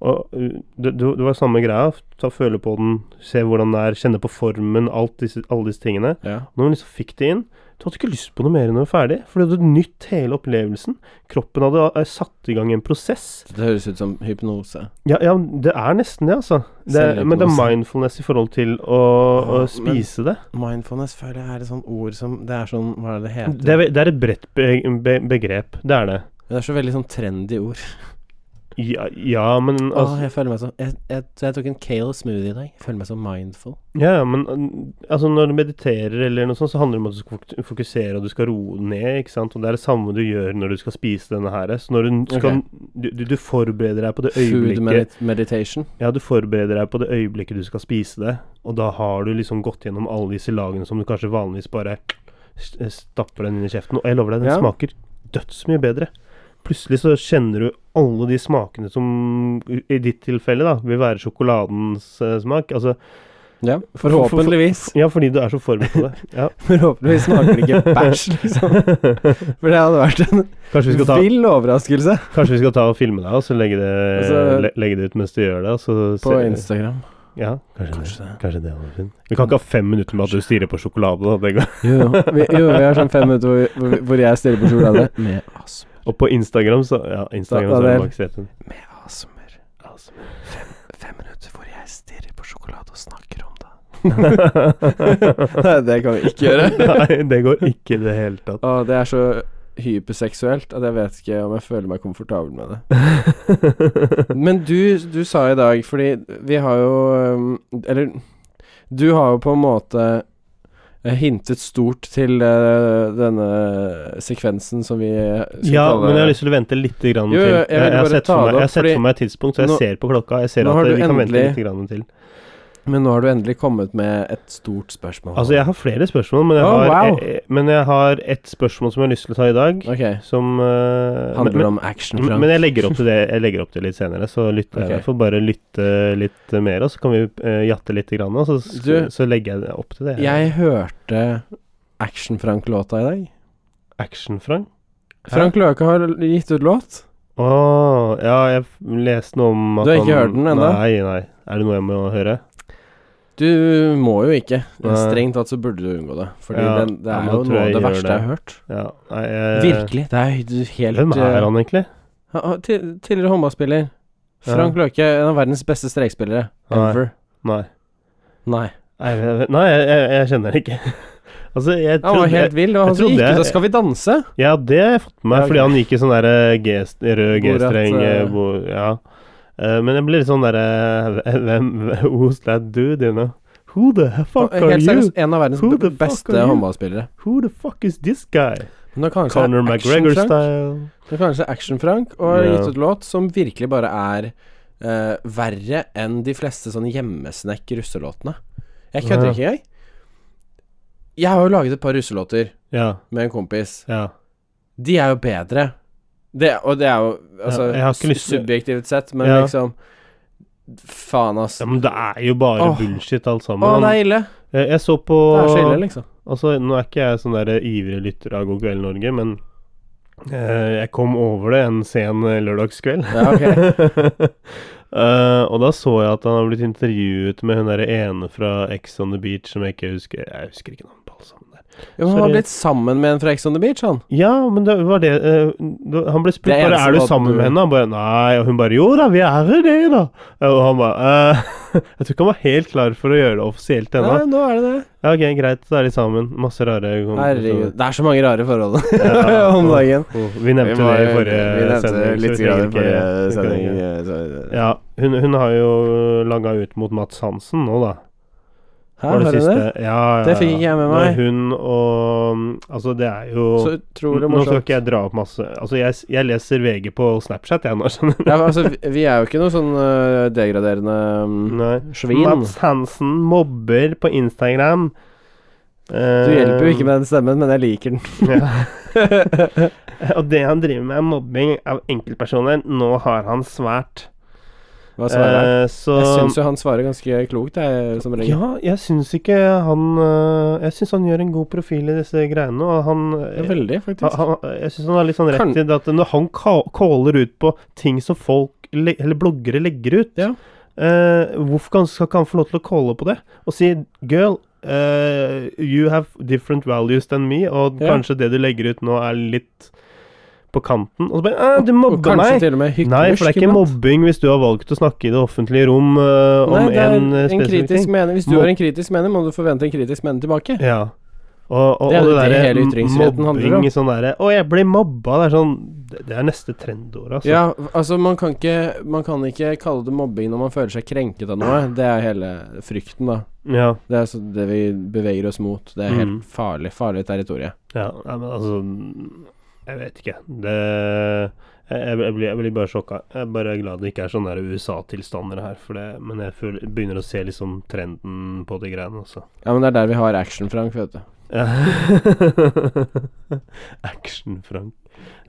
Speaker 2: Og eh, det, det det var samme greia. Ta Føle på den, se hvordan den er, kjenne på formen, alt disse, alle disse tingene.
Speaker 1: Ja.
Speaker 2: Når hun liksom fikk det inn, du hadde ikke lyst på noe mer når du var ferdig. For du hadde nytt hele opplevelsen. Kroppen hadde eh, satt i gang en prosess.
Speaker 1: Det høres ut som hypnose.
Speaker 2: Ja, ja det er nesten det, altså. Det,
Speaker 1: Selvhypnose.
Speaker 2: men det er mindfulness i forhold til å, å
Speaker 1: Ja, men-
Speaker 2: spise det.
Speaker 1: Mindfulness føler jeg er et sånt ord som Det er sånn Hva er det det heter?
Speaker 2: Det er, det er et bredt be be begrep. Det er det.
Speaker 1: Det er så veldig sånn trendy ord.
Speaker 2: Ja, ja men
Speaker 1: Åh,
Speaker 2: altså,
Speaker 1: jeg føler meg så jeg, jeg, jeg tok en kale smoothie i dag. Jeg føler meg så mindful.
Speaker 2: ja, ja, men eh, altså, når du mediterer eller noe sånt, så handler det om at du skal fok- fokusere og du skal roe ned. ikke sant? Og Det er det samme du gjør når du skal spise denne her. Så når du skal du, du, du forbereder deg på det
Speaker 1: Food
Speaker 2: øyeblikket
Speaker 1: medit meditation.
Speaker 2: Ja, du forbereder deg på det øyeblikket du skal spise det, og da har du liksom gått gjennom alle disse lagene som du kanskje vanligvis bare st- stapper den inn i kjeften. Og jeg lover deg, den
Speaker 1: Ja.
Speaker 2: smaker dødsmye bedre. Plutselig så kjenner du alle de smakene som i ditt tilfelle da, vil være sjokoladens eh, smak. Altså,
Speaker 1: Ja, forhåpentligvis.
Speaker 2: ja, fordi du er så forberedt på det. Ja.
Speaker 1: Forhåpentligvis smaker det ikke bæsj, liksom. For det hadde vært en
Speaker 2: Kanskje vi skal ta,
Speaker 1: vill overraskelse
Speaker 2: kanskje vi skal ta og filme deg, og så legge det,
Speaker 1: Altså-
Speaker 2: le, legge det ut mens du gjør det. Og så
Speaker 1: på
Speaker 2: se-
Speaker 1: Instagram.
Speaker 2: Ja, kanskje,
Speaker 1: Kanskje
Speaker 2: det.
Speaker 1: det.
Speaker 2: Kanskje det hadde vært fint. Vi kan ikke ha fem minutter med at du stirrer på sjokolade. Da. Det går.
Speaker 1: Jo, jo. Vi, jo, vi har sånn fem minutter hvor, vi- hvor, vi- hvor jeg stirrer på sjokolade. Med astm-
Speaker 2: Og på Instagram, så Ja, Instagram
Speaker 1: Da-
Speaker 2: så er det
Speaker 1: Daniel.
Speaker 2: bak setet.
Speaker 1: med astmer. Fem minutter hvor jeg stirrer på sjokolade og snakker om det. Nei, det kan vi ikke gjøre.
Speaker 2: Nei, det går ikke i det hele tatt.
Speaker 1: Å, det er så hyperseksuelt at jeg vet ikke om jeg føler meg komfortabel med det. Men du, du sa i dag, fordi vi har jo øhm, Eller du har jo på en måte eh, hintet stort til eh, denne sekvensen som vi skal
Speaker 2: ja, men jeg har lyst til å vente litt grann
Speaker 1: Jo, jo,
Speaker 2: til.
Speaker 1: jeg vil
Speaker 2: har
Speaker 1: bare
Speaker 2: sett
Speaker 1: ta
Speaker 2: for
Speaker 1: det
Speaker 2: meg,
Speaker 1: opp,
Speaker 2: jeg har sett
Speaker 1: fordi
Speaker 2: for meg et tidspunkt, så jeg
Speaker 1: nå-
Speaker 2: ser på klokka. Jeg ser
Speaker 1: nå
Speaker 2: at
Speaker 1: har
Speaker 2: vi
Speaker 1: du
Speaker 2: kan vente
Speaker 1: endelig-
Speaker 2: litt grann til.
Speaker 1: Men nå har du endelig kommet med et stort spørsmål.
Speaker 2: Altså, jeg har flere spørsmål, men jeg,
Speaker 1: Å,
Speaker 2: har,
Speaker 1: wow.
Speaker 2: eh, eh, men jeg har et spørsmål som jeg har lyst til å ta i dag,
Speaker 1: Ok.
Speaker 2: som eh, men-
Speaker 1: Handler det om action,
Speaker 2: Men
Speaker 1: Frank?
Speaker 2: men jeg legger opp til det Jeg legger opp til litt senere, så lytter
Speaker 1: Ok.
Speaker 2: jeg får bare lytte litt mer, og så kan vi eh, jatte litt, grann, og så,
Speaker 1: Du-
Speaker 2: så legger jeg det opp til det.
Speaker 1: Jeg hørte Action-Frank-låta i dag.
Speaker 2: Action-Frank?
Speaker 1: Frank Løke har gitt ut låt.
Speaker 2: Å, ja, jeg f- leste noe om at
Speaker 1: Du har ikke
Speaker 2: han-
Speaker 1: hørt den ennå?
Speaker 2: Nei, nei. Er det noe jeg må høre?
Speaker 1: Du må jo ikke.
Speaker 2: Nei.
Speaker 1: Strengt tatt så burde du unngå det. Fordi
Speaker 2: Ja,
Speaker 1: den, det
Speaker 2: ja,
Speaker 1: er
Speaker 2: men da
Speaker 1: jo
Speaker 2: tror
Speaker 1: noe
Speaker 2: jeg
Speaker 1: av det
Speaker 2: jeg gjør
Speaker 1: verste
Speaker 2: det.
Speaker 1: jeg har hørt.
Speaker 2: Ja, nei, jeg,
Speaker 1: Virkelig. eh, Det er jo helt
Speaker 2: Hvem er han egentlig?
Speaker 1: Ja, og ti- tidligere håndballspiller.
Speaker 2: Ja.
Speaker 1: Frank Løke, en av verdens beste strekspillere
Speaker 2: Nei.
Speaker 1: ever.
Speaker 2: Nei.
Speaker 1: Nei.
Speaker 2: Nei, jeg- nei jeg, jeg, jeg kjenner det ikke. altså, jeg
Speaker 1: Han var
Speaker 2: trodde
Speaker 1: helt vill. Det var han
Speaker 2: jeg
Speaker 1: som
Speaker 2: trodde
Speaker 1: gikk ut
Speaker 2: jeg-
Speaker 1: og 'Skal vi danse'?
Speaker 2: Ja, det har jeg fått med meg,
Speaker 1: Ja, ok.
Speaker 2: fordi han gikk i sånn der eh, G-st- rød
Speaker 1: Borat,
Speaker 2: G-streng
Speaker 1: eh.
Speaker 2: eh, bo- Ja. Eh, Men jeg ble litt sånn derre Hvem Who's that dude, you know? Who the fuck are
Speaker 1: Helt
Speaker 2: you?
Speaker 1: seriøst, en av verdens
Speaker 2: Who the
Speaker 1: b-
Speaker 2: fuck
Speaker 1: beste
Speaker 2: are you?
Speaker 1: håndballspillere.
Speaker 2: Who the fuck is this guy?
Speaker 1: Men det er kanskje
Speaker 2: Conor
Speaker 1: Action-Frank
Speaker 2: McGregor-style.
Speaker 1: Det er kanskje Action-Frank og har
Speaker 2: Ja.
Speaker 1: gitt ut låt som virkelig bare er eh, verre enn de fleste sånne hjemmesnekk russelåtene. Jeg kødder
Speaker 2: Ja.
Speaker 1: ikke, jeg. Jeg har jo laget et par russelåter
Speaker 2: Ja,
Speaker 1: med en kompis.
Speaker 2: ja.
Speaker 1: De er jo bedre. Det, og det er jo altså,
Speaker 2: Ja, jeg har ikke lyst til-
Speaker 1: subjektivt sett, men
Speaker 2: Ja.
Speaker 1: liksom Faen, ass.
Speaker 2: ja men det er jo bare
Speaker 1: Åh.
Speaker 2: bullshit, alt sammen. Eh,
Speaker 1: Å, det er ille.
Speaker 2: Jeg, jeg så på
Speaker 1: Det er så ille, liksom.
Speaker 2: Altså, nå er ikke jeg sånn der ivrig lytter av God kveld Norge, men eh, jeg kom over det en sen eh, lørdagskveld.
Speaker 1: Ja, ok.
Speaker 2: Eh, og da så jeg at han har blitt intervjuet med hun derre ene fra Ex on the Beach som jeg ikke husker Jeg husker ikke navnet på alle sammen der.
Speaker 1: Jo, men han har
Speaker 2: Sorry.
Speaker 1: blitt sammen med en fra Ex on the Beach, han.
Speaker 2: Ja, men det var det eh, da- Han ble spurt
Speaker 1: Det er
Speaker 2: bare
Speaker 1: eneste
Speaker 2: er du
Speaker 1: måten
Speaker 2: sammen
Speaker 1: du-
Speaker 2: med henne. Han bare nei, og hun bare jo da, vi er jo det, da. Og han bare eh, Jeg tror ikke han var helt klar for å gjøre det offisielt ennå.
Speaker 1: Nei, nå er det det.
Speaker 2: Ja, ok, greit, så er de sammen. Masse rare
Speaker 1: Herregud. Det er så mange rare forhold
Speaker 2: Ja.
Speaker 1: om dagen.
Speaker 2: Oh, Vi nevnte
Speaker 1: Vi må-
Speaker 2: det i forrige
Speaker 1: vi nevnte
Speaker 2: sending. så
Speaker 1: Litt
Speaker 2: vi
Speaker 1: grann i
Speaker 2: trenger ikke-
Speaker 1: forrige
Speaker 2: vi trenger
Speaker 1: sending.
Speaker 2: ikke-
Speaker 1: eh, så-
Speaker 2: Ja, hun, hun har jo langa ut mot Mats Hansen nå, da.
Speaker 1: Hæ,
Speaker 2: Var
Speaker 1: har du det?
Speaker 2: siste. Ja, ja,
Speaker 1: Det fikk ikke jeg med
Speaker 2: ja.
Speaker 1: meg.
Speaker 2: Når hun og Altså, det er
Speaker 1: Så
Speaker 2: jo
Speaker 1: utrolig
Speaker 2: Nå skal
Speaker 1: morsomt.
Speaker 2: ikke jeg dra opp masse Altså, jeg, s- jeg leser VG på Snapchat, jeg nå, skjønner du.
Speaker 1: Ja, men altså, vi- vi er jo ikke noe sånn eh, degraderende mm,
Speaker 2: Nei.
Speaker 1: svin.
Speaker 2: Mats Hansen mobber på Instagram.
Speaker 1: Du hjelper jo ikke med den stemmen, men jeg liker den.
Speaker 2: Ja. Eh, og det han driver med, er mobbing av enkeltpersoner. Nå har han svært.
Speaker 1: Hva svarer han?
Speaker 2: Eh, så
Speaker 1: Jeg syns jo han svarer ganske klokt, jeg, som regel.
Speaker 2: Ja, jeg syns ikke han eh, Jeg syns han gjør en god profil i disse greiene, og han eh,
Speaker 1: Ja, veldig,
Speaker 2: han,
Speaker 1: faktisk.
Speaker 2: han, Jeg syns han har litt sånn
Speaker 1: Kan-
Speaker 2: rett i det at når han ka- caller ut på ting som folk le, Eller bloggere legger ut,
Speaker 1: Ja.
Speaker 2: eh, hvorfor kan, skal ikke han få lov til å calle på det? Og si 'girl, eh, you have different values than me', og
Speaker 1: Ja.
Speaker 2: kanskje det du legger ut nå, er litt på kanten. Og så bare «Eh, 'Du
Speaker 1: Og
Speaker 2: mobber
Speaker 1: kanskje
Speaker 2: meg'.
Speaker 1: til og med hyklersk.
Speaker 2: Nei, for det er ikke
Speaker 1: iblant.
Speaker 2: mobbing hvis du har valgt å snakke i det offentlige rom eh, om
Speaker 1: Nei, det er
Speaker 2: en eh,
Speaker 1: en
Speaker 2: spesifikk
Speaker 1: kritisk
Speaker 2: ting.
Speaker 1: mening. Hvis du
Speaker 2: Mob-
Speaker 1: har en kritisk mening, må du forvente en kritisk mening tilbake.
Speaker 2: Ja. Og, og,
Speaker 1: Det er
Speaker 2: og
Speaker 1: jo
Speaker 2: det,
Speaker 1: det hele
Speaker 2: derre
Speaker 1: ytringsfriheten handler om.
Speaker 2: mobbing sånn derre Å, jeg ble mobba. Det er sånn Det, det er neste trendord, altså.
Speaker 1: Ja, altså man kan, ikke, man kan ikke kalle det mobbing når man føler seg krenket av noe. Det er hele frykten, da.
Speaker 2: ja.
Speaker 1: Det er altså det vi beveger oss mot. Det er helt
Speaker 2: Mm.
Speaker 1: farlig, farlig territorium.
Speaker 2: Ja, nei, men altså Jeg vet ikke. Det jeg, jeg, blir, jeg blir bare sjokka. Jeg er bare glad det ikke er sånne der USA-tilstander her. For det, men jeg føler, begynner å se liksom trenden på de greiene, altså.
Speaker 1: Ja, men det er der vi har action-Frank, vet du.
Speaker 2: Ja. Action-Frank.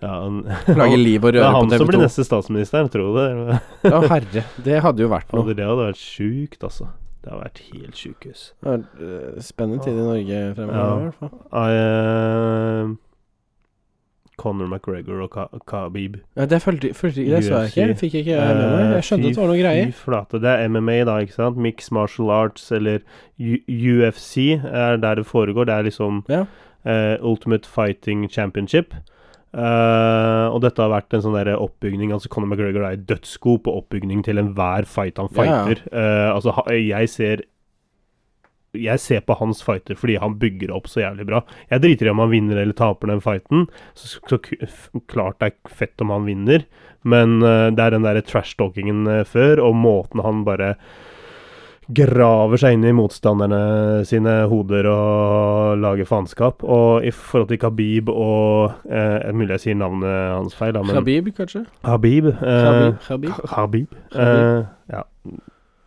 Speaker 2: Ja, han
Speaker 1: Lage liv og
Speaker 2: Det er
Speaker 1: røre på
Speaker 2: han som blir
Speaker 1: TV2.
Speaker 2: neste statsminister, tror du det?
Speaker 1: Å herre, det hadde jo vært noe.
Speaker 2: Hadde det hadde vært sjukt, altså. Det hadde vært helt sjukehus.
Speaker 1: Det er, eh, Spennende tid i Norge fremover,
Speaker 2: Ja.
Speaker 1: i hvert fall.
Speaker 2: I, eh, Conor McGregor og Ka Khabib.
Speaker 1: Ja, det fulgte, fulgte Det så jeg ikke.
Speaker 2: UFC.
Speaker 1: Fikk ikke jeg med meg. Jeg skjønte at det var noen greier.
Speaker 2: Eh, Fy flate. Det er MMA da, ikke sant? Mixed Martial Arts eller U UFC er der det foregår. Det er liksom
Speaker 1: Ja.
Speaker 2: eh, Ultimate Fighting Championship. Eh, og dette har vært en sånn der oppbygning Altså Conor McGregor er dødsgod på oppbygning til enhver fight han
Speaker 1: Ja, ja.
Speaker 2: fighter. Eh, altså, ha- jeg ser jeg ser på hans fighter fordi han bygger opp så jævlig bra. Jeg driter i om han vinner eller taper den fighten. Så, så k- f- klart det er fett om han vinner, men eh, det er den derre trash-talkingen eh, før, og måten han bare graver seg inn i motstanderne sine hoder og lager faenskap. Og i forhold til Khabib og eh, Mulig jeg sier navnet hans feil, da, men
Speaker 1: Khabib, kanskje?
Speaker 2: Habib. eh,
Speaker 1: Khabib? Khabib?
Speaker 2: Ka- Khabib.
Speaker 1: Khabib.
Speaker 2: Eh, ja.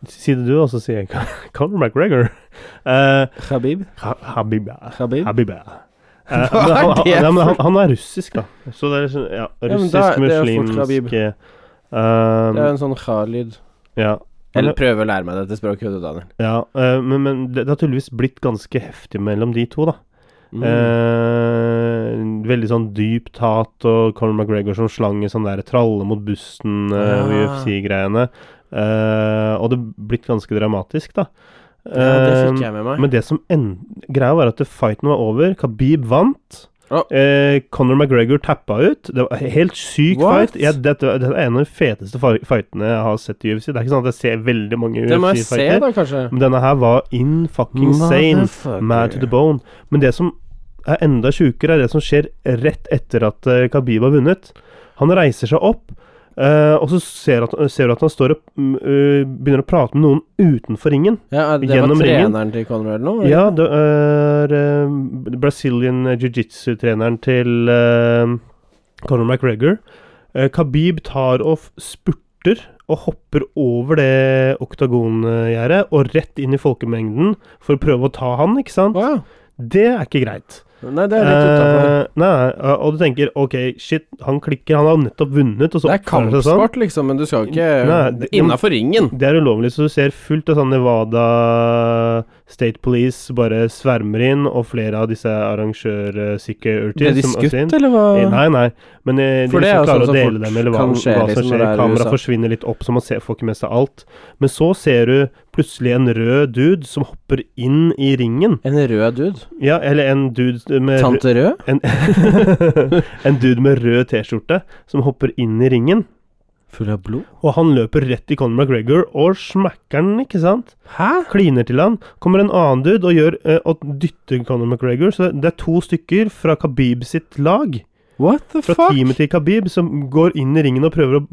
Speaker 2: Si det du, og så sier jeg Conor McGregor. Eh,
Speaker 1: Khabib?
Speaker 2: Ha- Habib, ja.
Speaker 1: Khabib?
Speaker 2: Habib, ja. Eh,
Speaker 1: Hva
Speaker 2: men han,
Speaker 1: er det
Speaker 2: han, ja, men
Speaker 1: for-
Speaker 2: han, han er russisk, da. Så det er sånn, ja,
Speaker 1: Ja, men
Speaker 2: russisk,
Speaker 1: da- det er jo fort Khabib.
Speaker 2: muslimsk eh,
Speaker 1: Det er
Speaker 2: ehm,
Speaker 1: en sånn kha-lyd.
Speaker 2: Ja.
Speaker 1: Eller prøve å lære meg dette språket, vet du, Daniel.
Speaker 2: ja eh, men, men det, det har tydeligvis blitt ganske heftig mellom de to, da.
Speaker 1: Mm.
Speaker 2: Eh, veldig sånn dypt hat, og Conor McGregor som slang en sånn der tralle mot bussen eh, og
Speaker 1: Ja.
Speaker 2: UFC-greiene. Eh, og det blitt ganske dramatisk, da.
Speaker 1: Ja, det fikk
Speaker 2: Eh,
Speaker 1: jeg med meg.
Speaker 2: men det som en, greia var at fighten var over. Khabib vant.
Speaker 1: Ja.
Speaker 2: Eh, Conor McGregor tappa ut. Det var en helt syk
Speaker 1: What?
Speaker 2: fight. Ja, dette, dette er en av de feteste fi- fightene jeg har sett i UFC. Det er ikke sånn at jeg ser veldig mange
Speaker 1: Det må jeg se,
Speaker 2: UFC-fighter.
Speaker 1: da, kanskje.
Speaker 2: Men denne her var in fucking sane. Mad to the bone. Men det som er enda sjukere, er det som skjer rett etter at eh, Khabib har vunnet. Han reiser seg opp, eh, og så ser, at, ser du at han står og mm, eh, begynner å prate med noen utenfor ringen.
Speaker 1: Ja, det
Speaker 2: Gjennom
Speaker 1: var
Speaker 2: ringen.
Speaker 1: treneren til Conrad nå? eller?
Speaker 2: Ja, det er eh, Brazilian jiu-jitsu-treneren til eh, Conor McGregor. Eh, Khabib tar og f- spurter og hopper over det oktagongjerdet og rett inn i folkemengden for å prøve å ta han, ikke sant?
Speaker 1: Å ja.
Speaker 2: Det er ikke greit.
Speaker 1: Nei, det er litt utenfor
Speaker 2: Eh, nei, eh, og du tenker ok, shit, han klikker, han har nettopp vunnet, og så
Speaker 1: Det er
Speaker 2: oppfører han seg sånn.
Speaker 1: kampsport, liksom, men du skal jo
Speaker 2: Nei,
Speaker 1: ikke
Speaker 2: det-
Speaker 1: innafor ringen.
Speaker 2: Det er ulovlig, så du ser fullt av sånn Nevada State Police bare svermer inn, og flere av disse arrangørsykeurter
Speaker 1: Ble de skutt, eller hva?
Speaker 2: Nei, nei, men eh, de
Speaker 1: For det er jo
Speaker 2: liksom klarer
Speaker 1: sånn
Speaker 2: å
Speaker 1: som
Speaker 2: dele
Speaker 1: fort
Speaker 2: dem, eller hva,
Speaker 1: kan skje,
Speaker 2: hva som
Speaker 1: liksom, når
Speaker 2: skjer.
Speaker 1: det er i
Speaker 2: Kameraet
Speaker 1: USA.
Speaker 2: forsvinner litt opp, så man ser, får ikke med seg alt. Men så ser du plutselig en rød dude som hopper inn i ringen.
Speaker 1: En rød dude?
Speaker 2: Ja, eller en dude med rød-
Speaker 1: Tante Rød?
Speaker 2: en, en dude med rød T-skjorte som hopper inn i ringen.
Speaker 1: Full av blod?
Speaker 2: Og han løper rett i Conor McGregor og smakker han, ikke sant?
Speaker 1: Hæ?
Speaker 2: Kliner til han. Kommer en annen dude og, gjør, eh, og dytter Conor McGregor. Så det er to stykker fra Khabib sitt lag.
Speaker 1: What the
Speaker 2: Fra
Speaker 1: fuck?
Speaker 2: teamet til Khabib som går inn i ringen og prøver å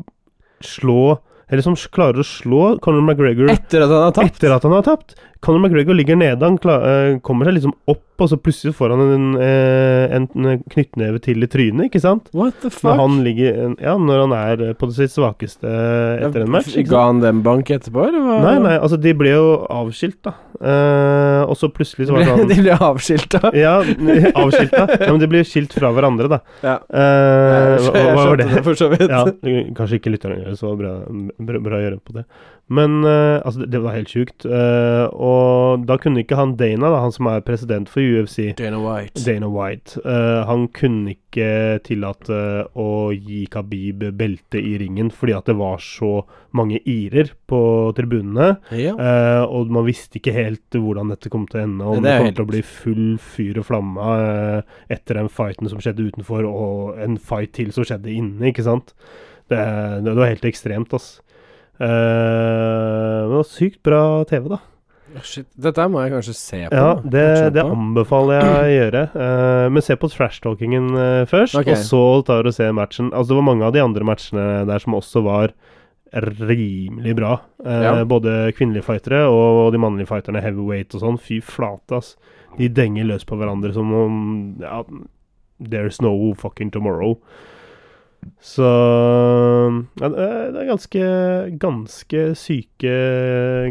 Speaker 2: slå Eller som klarer å slå Conor McGregor
Speaker 1: Etter at han har tapt?
Speaker 2: etter at han har tapt. Conor McGregor ligger nede, han kla- eh, kommer seg liksom opp, og så plutselig får han en, eh, en knyttneve til i trynet, ikke sant?
Speaker 1: What the
Speaker 2: Når
Speaker 1: fuck?
Speaker 2: han, ligger, ja, når han er eh, på det sitt svakeste eh, etter en match. Ikke sant?
Speaker 1: Ga han dem bank etterpå, eller hva?
Speaker 2: Nei, nei, altså de ble jo avskilt, da. Eh, og så plutselig så var det
Speaker 1: Ble,
Speaker 2: sånn
Speaker 1: de ble avskilta?
Speaker 2: Ja, avskilt, da. Ja, men de ble skilt fra hverandre, da.
Speaker 1: Ja.
Speaker 2: Eh,
Speaker 1: Jeg
Speaker 2: hva, hva var
Speaker 1: skjønte
Speaker 2: det?
Speaker 1: det for så vidt.
Speaker 2: Ja, kanskje ikke lytterne gjør det så bra, bra, bra å gjøre på det. Men eh, altså, det, det var helt sjukt. Eh, og da kunne ikke han Dana, da, han som er president for UFC,
Speaker 1: Dana White.
Speaker 2: Dana White. eh, han kunne ikke tillate å gi Khabib belte i ringen fordi at det var så mange irer på tribunene.
Speaker 1: Ja.
Speaker 2: eh, og man visste ikke helt hvordan dette kom til å ende. Om
Speaker 1: Det
Speaker 2: det,
Speaker 1: er
Speaker 2: kom
Speaker 1: helt-
Speaker 2: til å bli full fyr og flamme eh, etter den fighten som skjedde utenfor, og en fight til som skjedde inne, ikke sant. Det, det, det var helt ekstremt, ass. Eh, men det var sykt bra TV, da.
Speaker 1: Å, Shit. Dette her må jeg kanskje se på.
Speaker 2: Ja,
Speaker 1: da.
Speaker 2: det,
Speaker 1: Kanskje
Speaker 2: det
Speaker 1: på.
Speaker 2: anbefaler jeg å gjøre. eh, men se på trash-talkingen eh, først,
Speaker 1: Ok.
Speaker 2: og så tar du og se matchen. Altså, det var mange av de andre matchene der som også var rimelig bra. Eh,
Speaker 1: Ja.
Speaker 2: Både kvinnelige fightere og de mannlige fighterne, heavyweight og sånn. Fy flate, ass. De denger løs på hverandre som om ja, There's no fucking tomorrow. Så ja, det er det er ganske, ganske syke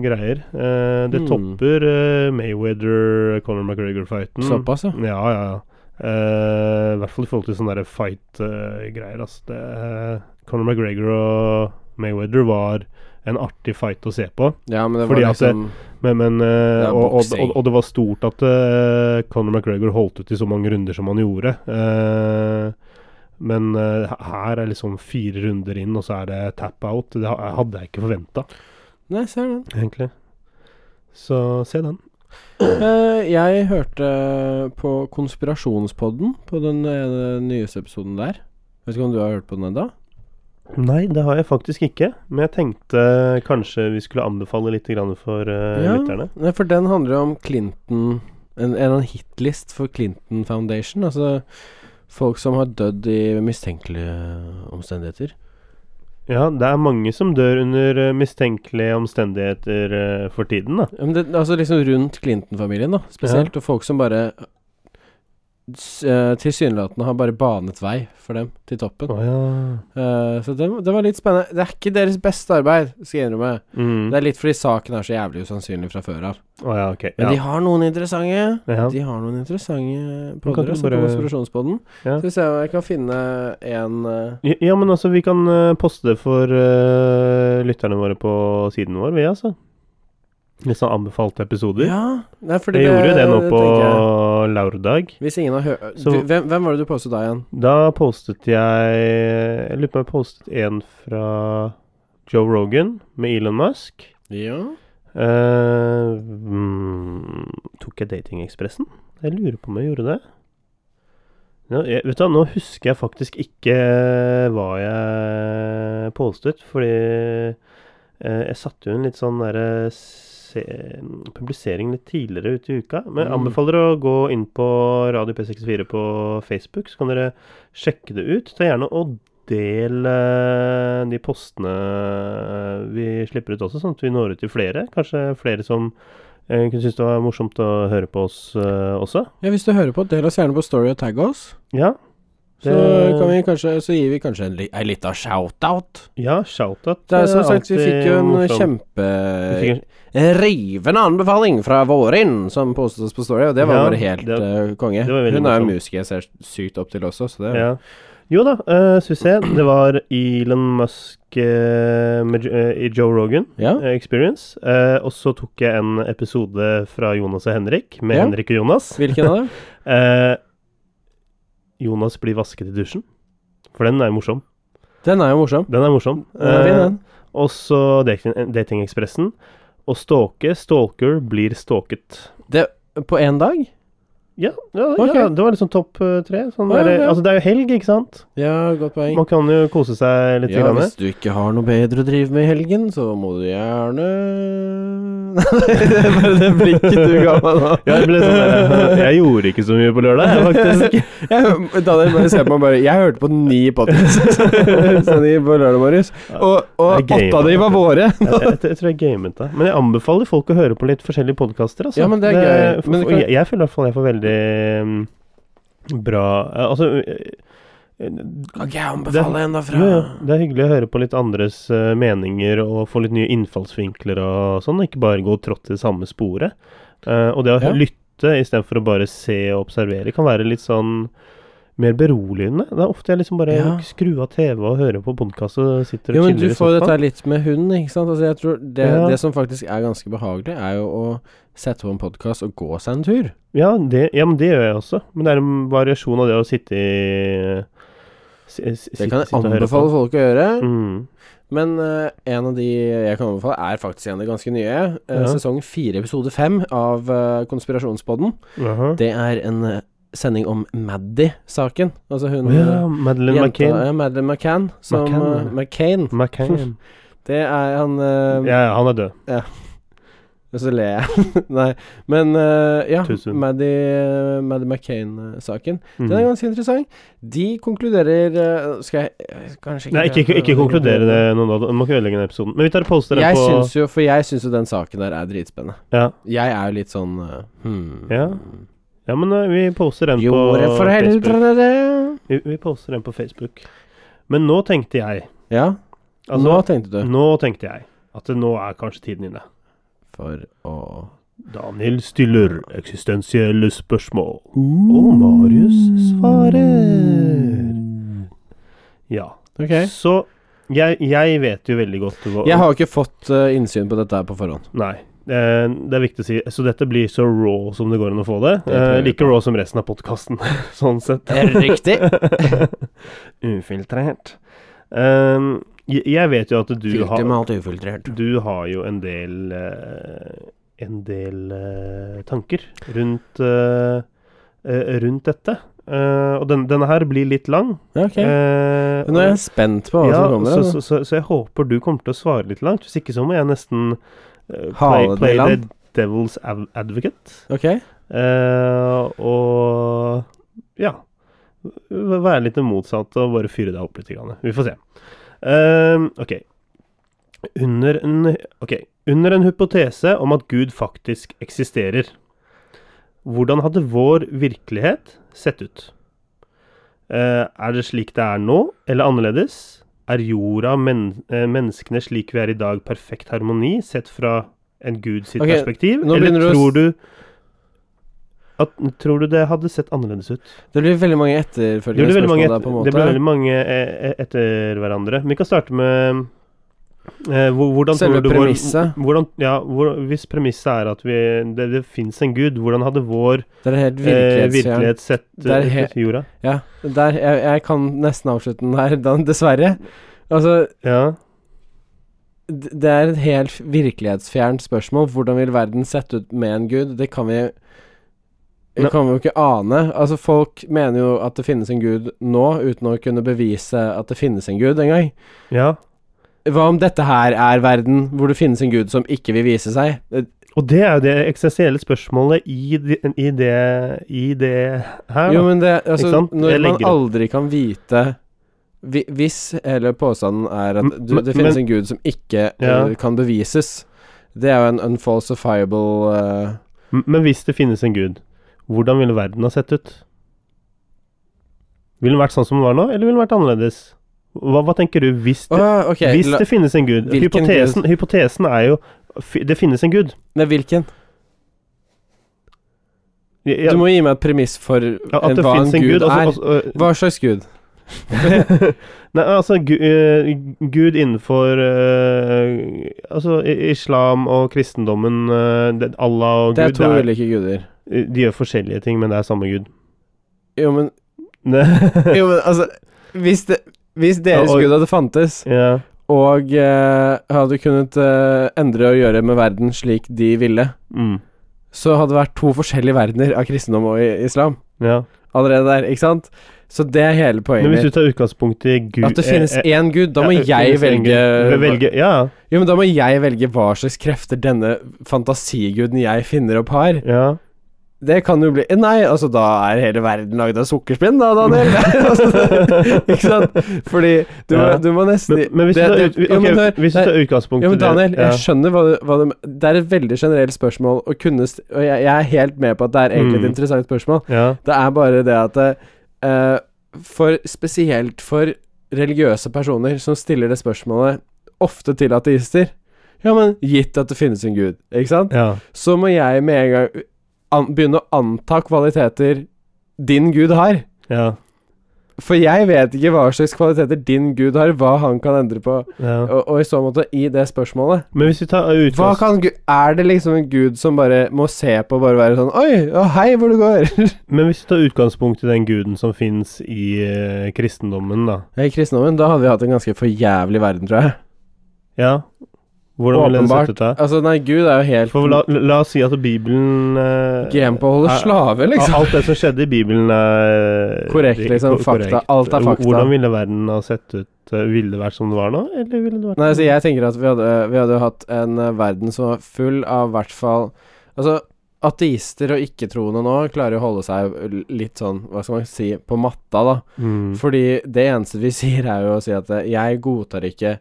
Speaker 2: greier. Eh, det
Speaker 1: Hmm.
Speaker 2: topper eh, Mayweather-Conor McGregor-fighten.
Speaker 1: Såpass, ja.
Speaker 2: Ja, ja, ja. Eh, I hvert fall i forhold til sånne der fight-greier. altså. Det, eh, Conor McGregor og Mayweather var en artig fight å se på.
Speaker 1: ja men det
Speaker 2: Fordi
Speaker 1: var
Speaker 2: at det-
Speaker 1: liksom
Speaker 2: Men, men,
Speaker 1: er
Speaker 2: eh, og, og,
Speaker 1: boksing.
Speaker 2: og, og det var stort at eh, Conor McGregor holdt ut i så mange runder som han gjorde. Eh, men eh, her er liksom fire runder inn, og så er det tap out. Det ha- hadde jeg ikke forventa,
Speaker 1: Nei, ser den.
Speaker 2: egentlig. Så se den.
Speaker 1: Eh, jeg hørte på Konspirasjonspodden på den ene nyeste episoden der. Vet ikke om du har hørt på den ennå?
Speaker 2: Nei, det har jeg faktisk ikke. Men jeg tenkte kanskje vi skulle anbefale litt grann for eh,
Speaker 1: Ja.
Speaker 2: lytterne.
Speaker 1: Nei, for den handler om Clinton En, en eller annen hitlist for Clinton Foundation. Altså folk som har dødd i mistenkelige omstendigheter.
Speaker 2: Ja, det er mange som dør under eh, mistenkelige omstendigheter eh, for tiden, da.
Speaker 1: Ja, men det, altså liksom rundt Clinton-familien, da. Spesielt. Og folk som bare s- eh, Tilsynelatende har bare banet vei for dem til toppen.
Speaker 2: Å ja.
Speaker 1: Eh, så det, det var litt spennende. Det er ikke deres beste arbeid, skal jeg innrømme.
Speaker 2: Mm.
Speaker 1: Det er litt fordi saken er så jævlig usannsynlig fra før av.
Speaker 2: Å ja, ok.
Speaker 1: Men
Speaker 2: Ja.
Speaker 1: de har noen interessante.
Speaker 2: Ja.
Speaker 1: De har noen interessante
Speaker 2: Men kan
Speaker 1: podder
Speaker 2: du
Speaker 1: altså, på
Speaker 2: bare-
Speaker 1: konspirasjonspodden.
Speaker 2: Ja.
Speaker 1: Skal vi se om jeg kan finne en eh,
Speaker 2: Ja, ja, men altså, vi kan eh, poste det for eh, lytterne våre på siden vår, vi, altså. Nesten anbefalte episoder.
Speaker 1: Ja, nei, fordi
Speaker 2: jeg gjorde jo det nå på
Speaker 1: tenker jeg.
Speaker 2: lørdag.
Speaker 1: Hvis ingen har hørt
Speaker 2: Så-
Speaker 1: hvem, hvem var det du postet da igjen?
Speaker 2: Da postet jeg Jeg lurer på om jeg postet en fra Joe Rogan med Elon Musk.
Speaker 1: Ja.
Speaker 2: Eh, mm, tok jeg Datingekspressen? Jeg lurer på om jeg gjorde det. Nå, jeg, vet du, hva, nå husker jeg faktisk ikke eh, hva jeg postet, fordi eh, jeg satte jo en litt sånn derre se- publisering litt tidligere ute i uka. Men jeg
Speaker 1: Mm.
Speaker 2: anbefaler å gå inn på Radio P64 på Facebook, så kan dere sjekke det ut. Ta gjerne og del eh, de postene eh, vi slipper ut også, sånn at vi når ut til flere. Kanskje flere som eh, kunne synes det var morsomt å høre på oss eh, også.
Speaker 1: ja, hvis du hører på, del oss gjerne på Story og tagg oss.
Speaker 2: Ja,
Speaker 1: Så,
Speaker 2: Det-
Speaker 1: kan vi kanskje, så gir vi kanskje en, li, en liten shout-out.
Speaker 2: ja shout-out.
Speaker 1: Det er som
Speaker 2: eh,
Speaker 1: sagt, vi
Speaker 2: alltid
Speaker 1: fikk jo en
Speaker 2: morsomt.
Speaker 1: kjempe...
Speaker 2: Vi fikk en-
Speaker 1: En rivende Eh, anbefaling fra Vårin, som postet oss på Story, og det var
Speaker 2: Ja,
Speaker 1: bare helt
Speaker 2: det-
Speaker 1: eh, konge.
Speaker 2: det var veldig
Speaker 1: Hun er jo
Speaker 2: morsomt.
Speaker 1: musiker jeg ser sykt opp til også, så det
Speaker 2: ja. Jo da, eh, skal vi se. Det var Elon Musk eh, med, Jo- eh, i Joe Rogan
Speaker 1: Ja.
Speaker 2: eh, Experience. Eh, og så tok jeg en episode fra Jonas og Henrik, med
Speaker 1: Ja.
Speaker 2: Henrik og Jonas.
Speaker 1: Hvilken av dem?
Speaker 2: Eh, Jonas blir vasket i dusjen. For den er jo morsom.
Speaker 1: Den er jo morsom.
Speaker 2: Den er morsom.
Speaker 1: Den er
Speaker 2: Eh,
Speaker 1: fin, den.
Speaker 2: og så Dating- Datingekspressen. Og stalke. Stalker blir stalket.
Speaker 1: Det, på én dag?
Speaker 2: Ja, ja,
Speaker 1: Ok.
Speaker 2: ja, det var liksom topp eh, tre. Sånn
Speaker 1: Å, ja,
Speaker 2: der,
Speaker 1: ja.
Speaker 2: Altså, det er jo helg, ikke sant?
Speaker 1: Ja, godt poeng.
Speaker 2: Man kan jo kose seg litt.
Speaker 1: Ja,
Speaker 2: grann.
Speaker 1: hvis du ikke har noe bedre å drive med i helgen, så må du gjerne Nei, det er bare det blikket du ga meg nå.
Speaker 2: Ja, det ble litt sånn der, Jeg gjorde ikke så mye på lørdag, faktisk.
Speaker 1: Jeg, Daniel bare ser på meg bare Jeg hørte på ni podkaster på lørdag morges, og, og
Speaker 2: Det er gøy,
Speaker 1: åtte av de var våre.
Speaker 2: Jeg, jeg, jeg tror jeg gamet det. Men jeg anbefaler folk å høre på litt forskjellige podkaster. Altså.
Speaker 1: Ja, men det er gøy. Men
Speaker 2: for-
Speaker 1: det kan-
Speaker 2: jeg, jeg føler i hvert fall jeg får veldig mm, bra eh, Altså eh,
Speaker 1: Kan ikke jeg
Speaker 2: anbefale
Speaker 1: en, da,
Speaker 2: jo, ja, det er hyggelig å høre på litt andres eh, meninger og få litt nye innfallsvinkler og sånn, og ikke bare gå og trått i det samme sporet. Eh, og det å
Speaker 1: Ja.
Speaker 2: lytte istedenfor å bare se og observere kan være litt sånn mer beroligende. Det er ofte jeg liksom bare
Speaker 1: Ja.
Speaker 2: skru av TV og hører på podkast og sitter
Speaker 1: Jo,
Speaker 2: og
Speaker 1: men du
Speaker 2: chiller i
Speaker 1: får jo dette
Speaker 2: sofaen.
Speaker 1: her litt med hund, ikke sant. Altså, jeg tror det,
Speaker 2: Ja.
Speaker 1: det som faktisk er ganske behagelig, er jo å sette på en podkast og gå seg en tur.
Speaker 2: Ja, det, ja, men det gjør jeg også. Men det er en variasjon av det å sitte i si- si-
Speaker 1: Det
Speaker 2: sitte-
Speaker 1: kan jeg
Speaker 2: sitte og høre
Speaker 1: anbefale
Speaker 2: på.
Speaker 1: folk å gjøre.
Speaker 2: Mm.
Speaker 1: Men eh, en av de jeg kan anbefale, er faktisk en av de ganske nye. Eh,
Speaker 2: Ja.
Speaker 1: Sesong fire, episode fem av eh, Konspirasjonspodden.
Speaker 2: Jaha.
Speaker 1: Det er en eh, sending om Maddy-saken. Altså hun
Speaker 2: Å ja, Madeleine
Speaker 1: jenta-
Speaker 2: McCain.
Speaker 1: Ja, Madeleine McCann. Som,
Speaker 2: McCann,
Speaker 1: eh,
Speaker 2: eller?
Speaker 1: McCain.
Speaker 2: McCain.
Speaker 1: Det er han eh,
Speaker 2: Ja, ja, han er død.
Speaker 1: Og så ler jeg. Nei. Men eh, ja,
Speaker 2: Too soon.
Speaker 1: Maddy, Maddy McCain-saken.
Speaker 2: Mm.
Speaker 1: Den er ganske interessant. De konkluderer eh, Skal jeg eh, kanskje
Speaker 2: Nei, ikke, ikke, ikke konkludere det nå, da. Du må ikke ødelegge den episoden. Men vi tar og poster den
Speaker 1: Jeg
Speaker 2: på
Speaker 1: syns jo, for jeg syns jo den saken der er dritspennende.
Speaker 2: ja.
Speaker 1: Jeg er jo litt sånn eh, hmm.
Speaker 2: Ja, ja, men eh, vi poster den
Speaker 1: Gjorde
Speaker 2: på Facebook.
Speaker 1: foreldrene det?
Speaker 2: Vi, vi poster den på Facebook. Men nå tenkte jeg
Speaker 1: Ja, nå
Speaker 2: Altså,
Speaker 1: tenkte du
Speaker 2: nå tenkte jeg at det nå er kanskje tiden inne.
Speaker 1: For å
Speaker 2: Daniel stiller eksistensielle spørsmål.
Speaker 1: Uh.
Speaker 2: Og Marius svarer. Ja.
Speaker 1: Ok.
Speaker 2: Så jeg, jeg vet jo veldig godt hva
Speaker 1: Jeg har jo ikke fått eh, innsyn på dette her på forhånd.
Speaker 2: Nei. eh, Det er viktig å si. Så dette blir så raw som det går an å få det.
Speaker 1: Det prøver
Speaker 2: Eh,
Speaker 1: vi
Speaker 2: like raw som resten av podkasten, sånn sett.
Speaker 1: Riktig.
Speaker 2: Ufiltrert. Um, jeg, jeg vet jo at du har
Speaker 1: med alt ufiltrert.
Speaker 2: Du har jo en del eh, En del eh, tanker rundt eh, eh, Rundt dette. Eh, og den, denne her blir litt lang.
Speaker 1: Ja, ok.
Speaker 2: Eh,
Speaker 1: Nå er jeg spent på hva
Speaker 2: ja,
Speaker 1: som kommer.
Speaker 2: så,
Speaker 1: altså.
Speaker 2: så, så, så jeg håper du kommer til å svare litt langt. Hvis ikke så må jeg nesten eh, play,
Speaker 1: Hale det
Speaker 2: play
Speaker 1: i
Speaker 2: the
Speaker 1: land.
Speaker 2: devil's ad- advocate.
Speaker 1: Ok.
Speaker 2: Eh, og ja v- Være litt det motsatte og bare fyre deg opp litt. Grann. Vi får se. Ehm, ok. Under en, ok. Under en hypotese om at Gud faktisk eksisterer, hvordan hadde vår virkelighet sett ut? Eh, er det slik det er nå, eller annerledes? Er jorda, men, eh, menneskene slik vi er i dag, perfekt harmoni sett fra en Gud sitt
Speaker 1: Ok,
Speaker 2: perspektiv?
Speaker 1: nå
Speaker 2: Eller
Speaker 1: begynner du å s-
Speaker 2: tror du at, Tror du det hadde sett annerledes ut?
Speaker 1: Det blir veldig mange
Speaker 2: Det
Speaker 1: etterfølgende
Speaker 2: blir veldig
Speaker 1: spørsmål
Speaker 2: mange,
Speaker 1: der, på en
Speaker 2: et, det
Speaker 1: måte.
Speaker 2: blir veldig mange eh, etter hverandre. Men vi kan starte med eh, hvor- hvordan
Speaker 1: Selve
Speaker 2: tror du vår-
Speaker 1: premisset.
Speaker 2: Hvordan, ja, hvor, hvis premisset er at vi, det, det fins en gud, hvordan hadde vår
Speaker 1: Det er helt
Speaker 2: eh,
Speaker 1: virkelighetsfjern.
Speaker 2: virkelighet sett ut
Speaker 1: Det er he-
Speaker 2: i jorda?
Speaker 1: ja. Der, jeg, jeg kan nesten avslutte den her, Dan, dessverre. Altså,
Speaker 2: Ja.
Speaker 1: D- Det er et helt virkelighetsfjernt spørsmål. Hvordan vil verden sette ut med en gud? Det kan vi
Speaker 2: Ne-
Speaker 1: det kan vi jo ikke ane. Altså Folk mener jo at det finnes en gud nå, uten å kunne bevise at det finnes en gud engang.
Speaker 2: ja.
Speaker 1: Hva om dette her er verden hvor det finnes en gud som ikke vil vise seg? Det-
Speaker 2: Og det er jo det eksistensielle spørsmålet i, de- i, det, i det her.
Speaker 1: Jo,
Speaker 2: da.
Speaker 1: men det
Speaker 2: Ikke
Speaker 1: Altså,
Speaker 2: sant?
Speaker 1: når
Speaker 2: Jeg
Speaker 1: man
Speaker 2: legger opp.
Speaker 1: aldri kan vite hvi- Hvis hele påstanden er at
Speaker 2: M-
Speaker 1: du, det
Speaker 2: men-
Speaker 1: finnes en gud som ikke
Speaker 2: Ja.
Speaker 1: eh, kan bevises, det er jo en unfalsifiable eh,
Speaker 2: M- Men hvis det finnes en gud, hvordan ville verden ha sett ut? Ville den vært sånn som den var nå, eller ville den vært annerledes? Hva, hva tenker du hvis det,
Speaker 1: Åh, ok,
Speaker 2: Hvis
Speaker 1: la-
Speaker 2: det finnes en gud
Speaker 1: Hvilken
Speaker 2: hypotesen, hypotesen er jo fi- Det finnes en gud.
Speaker 1: Nei, hvilken?
Speaker 2: Ja,
Speaker 1: Du må gi meg et premiss for
Speaker 2: ja, at
Speaker 1: eh,
Speaker 2: det
Speaker 1: hva en
Speaker 2: finnes
Speaker 1: eh, gud,
Speaker 2: en gud. altså-
Speaker 1: er.
Speaker 2: altså, øh,
Speaker 1: Hva slags gud?
Speaker 2: Nei, altså gu, eh, Gud innenfor eh, Altså i- islam og kristendommen eh, det, Allah og
Speaker 1: Det er
Speaker 2: Gud
Speaker 1: to
Speaker 2: det er-
Speaker 1: ulike guder.
Speaker 2: De gjør forskjellige ting, men det er samme Gud.
Speaker 1: Jo, men,
Speaker 2: Ne-
Speaker 1: jo, men altså Hvis, det, hvis deres
Speaker 2: Ja, og-
Speaker 1: gud hadde fantes,
Speaker 2: ja.
Speaker 1: og eh, hadde kunnet eh, endre og gjøre med verden slik de ville,
Speaker 2: Mm.
Speaker 1: så hadde det vært to forskjellige verdener av kristendom og i- islam
Speaker 2: ja.
Speaker 1: allerede der, ikke sant? Så det er hele poenget
Speaker 2: Men hvis du
Speaker 1: mitt.
Speaker 2: tar utgangspunkt i Gud
Speaker 1: At det finnes
Speaker 2: eh, eh,
Speaker 1: én gud, da må
Speaker 2: ja, det
Speaker 1: jeg
Speaker 2: finnes en
Speaker 1: velge,
Speaker 2: Gud. velge Ja,
Speaker 1: Jo, men da må jeg velge hva slags krefter denne fantasiguden jeg finner opp har.
Speaker 2: ja.
Speaker 1: Det kan jo bli Nei, altså da er hele verden lagd av sukkerspinn, da, Daniel. altså, ikke sant? Fordi du må,
Speaker 2: Ja.
Speaker 1: du må nesten
Speaker 2: Men, men hvis,
Speaker 1: det-
Speaker 2: du tar,
Speaker 1: det-
Speaker 2: ut, ok,
Speaker 1: jo, men hør,
Speaker 2: hvis du
Speaker 1: det-
Speaker 2: tar utgangspunkt
Speaker 1: jo, men
Speaker 2: i det-
Speaker 1: Daniel,
Speaker 2: ja.
Speaker 1: jeg skjønner hva, du- hva du Det er et veldig generelt spørsmål å kunne st- Og jeg, jeg er helt med på at det er egentlig et
Speaker 2: Mm.
Speaker 1: interessant spørsmål.
Speaker 2: ja.
Speaker 1: Det er bare det at eh, For spesielt for religiøse personer som stiller det spørsmålet ofte til ateister Ja, men gitt at det finnes en gud, ikke sant?
Speaker 2: ja.
Speaker 1: Så må jeg med en gang an, begynne å anta kvaliteter din gud har.
Speaker 2: Ja.
Speaker 1: For jeg vet ikke hva slags kvaliteter din gud har, hva han kan endre på.
Speaker 2: ja.
Speaker 1: Og, og i så måte, i det spørsmålet
Speaker 2: Men hvis vi tar
Speaker 1: hva
Speaker 2: utgangspunkt
Speaker 1: kan Gud Er det liksom en gud som bare må se på og bare være sånn Oi, å hei, hvor du går?
Speaker 2: Men hvis du tar utgangspunkt i den guden som fins i eh, kristendommen, da
Speaker 1: I kristendommen, da hadde vi hatt en ganske forjævlig verden, tror jeg.
Speaker 2: Ja, hvordan ville den
Speaker 1: Åpenbart.
Speaker 2: sett ut da?
Speaker 1: Altså, nei, Gud er jo helt
Speaker 2: For la, la oss si at Bibelen eh,
Speaker 1: game på å holde
Speaker 2: er-
Speaker 1: slave, liksom.
Speaker 2: Alt det som skjedde i Bibelen er
Speaker 1: Korrekt, liksom,
Speaker 2: ko-
Speaker 1: fakta. Alt er fakta.
Speaker 2: Hvordan ville verden ha sett ut? Eh, Ville det vært som det var nå, eller ville det vært
Speaker 1: Nei, altså, jeg tenker at vi hadde, vi hadde hatt en eh, verden som var full av i hvert fall Altså, ateister og ikke-troende nå klarer jo å holde seg l- litt sånn, hva skal man si, på matta, da.
Speaker 2: mm.
Speaker 1: Fordi det eneste vi sier, er jo å si at eh, jeg godtar ikke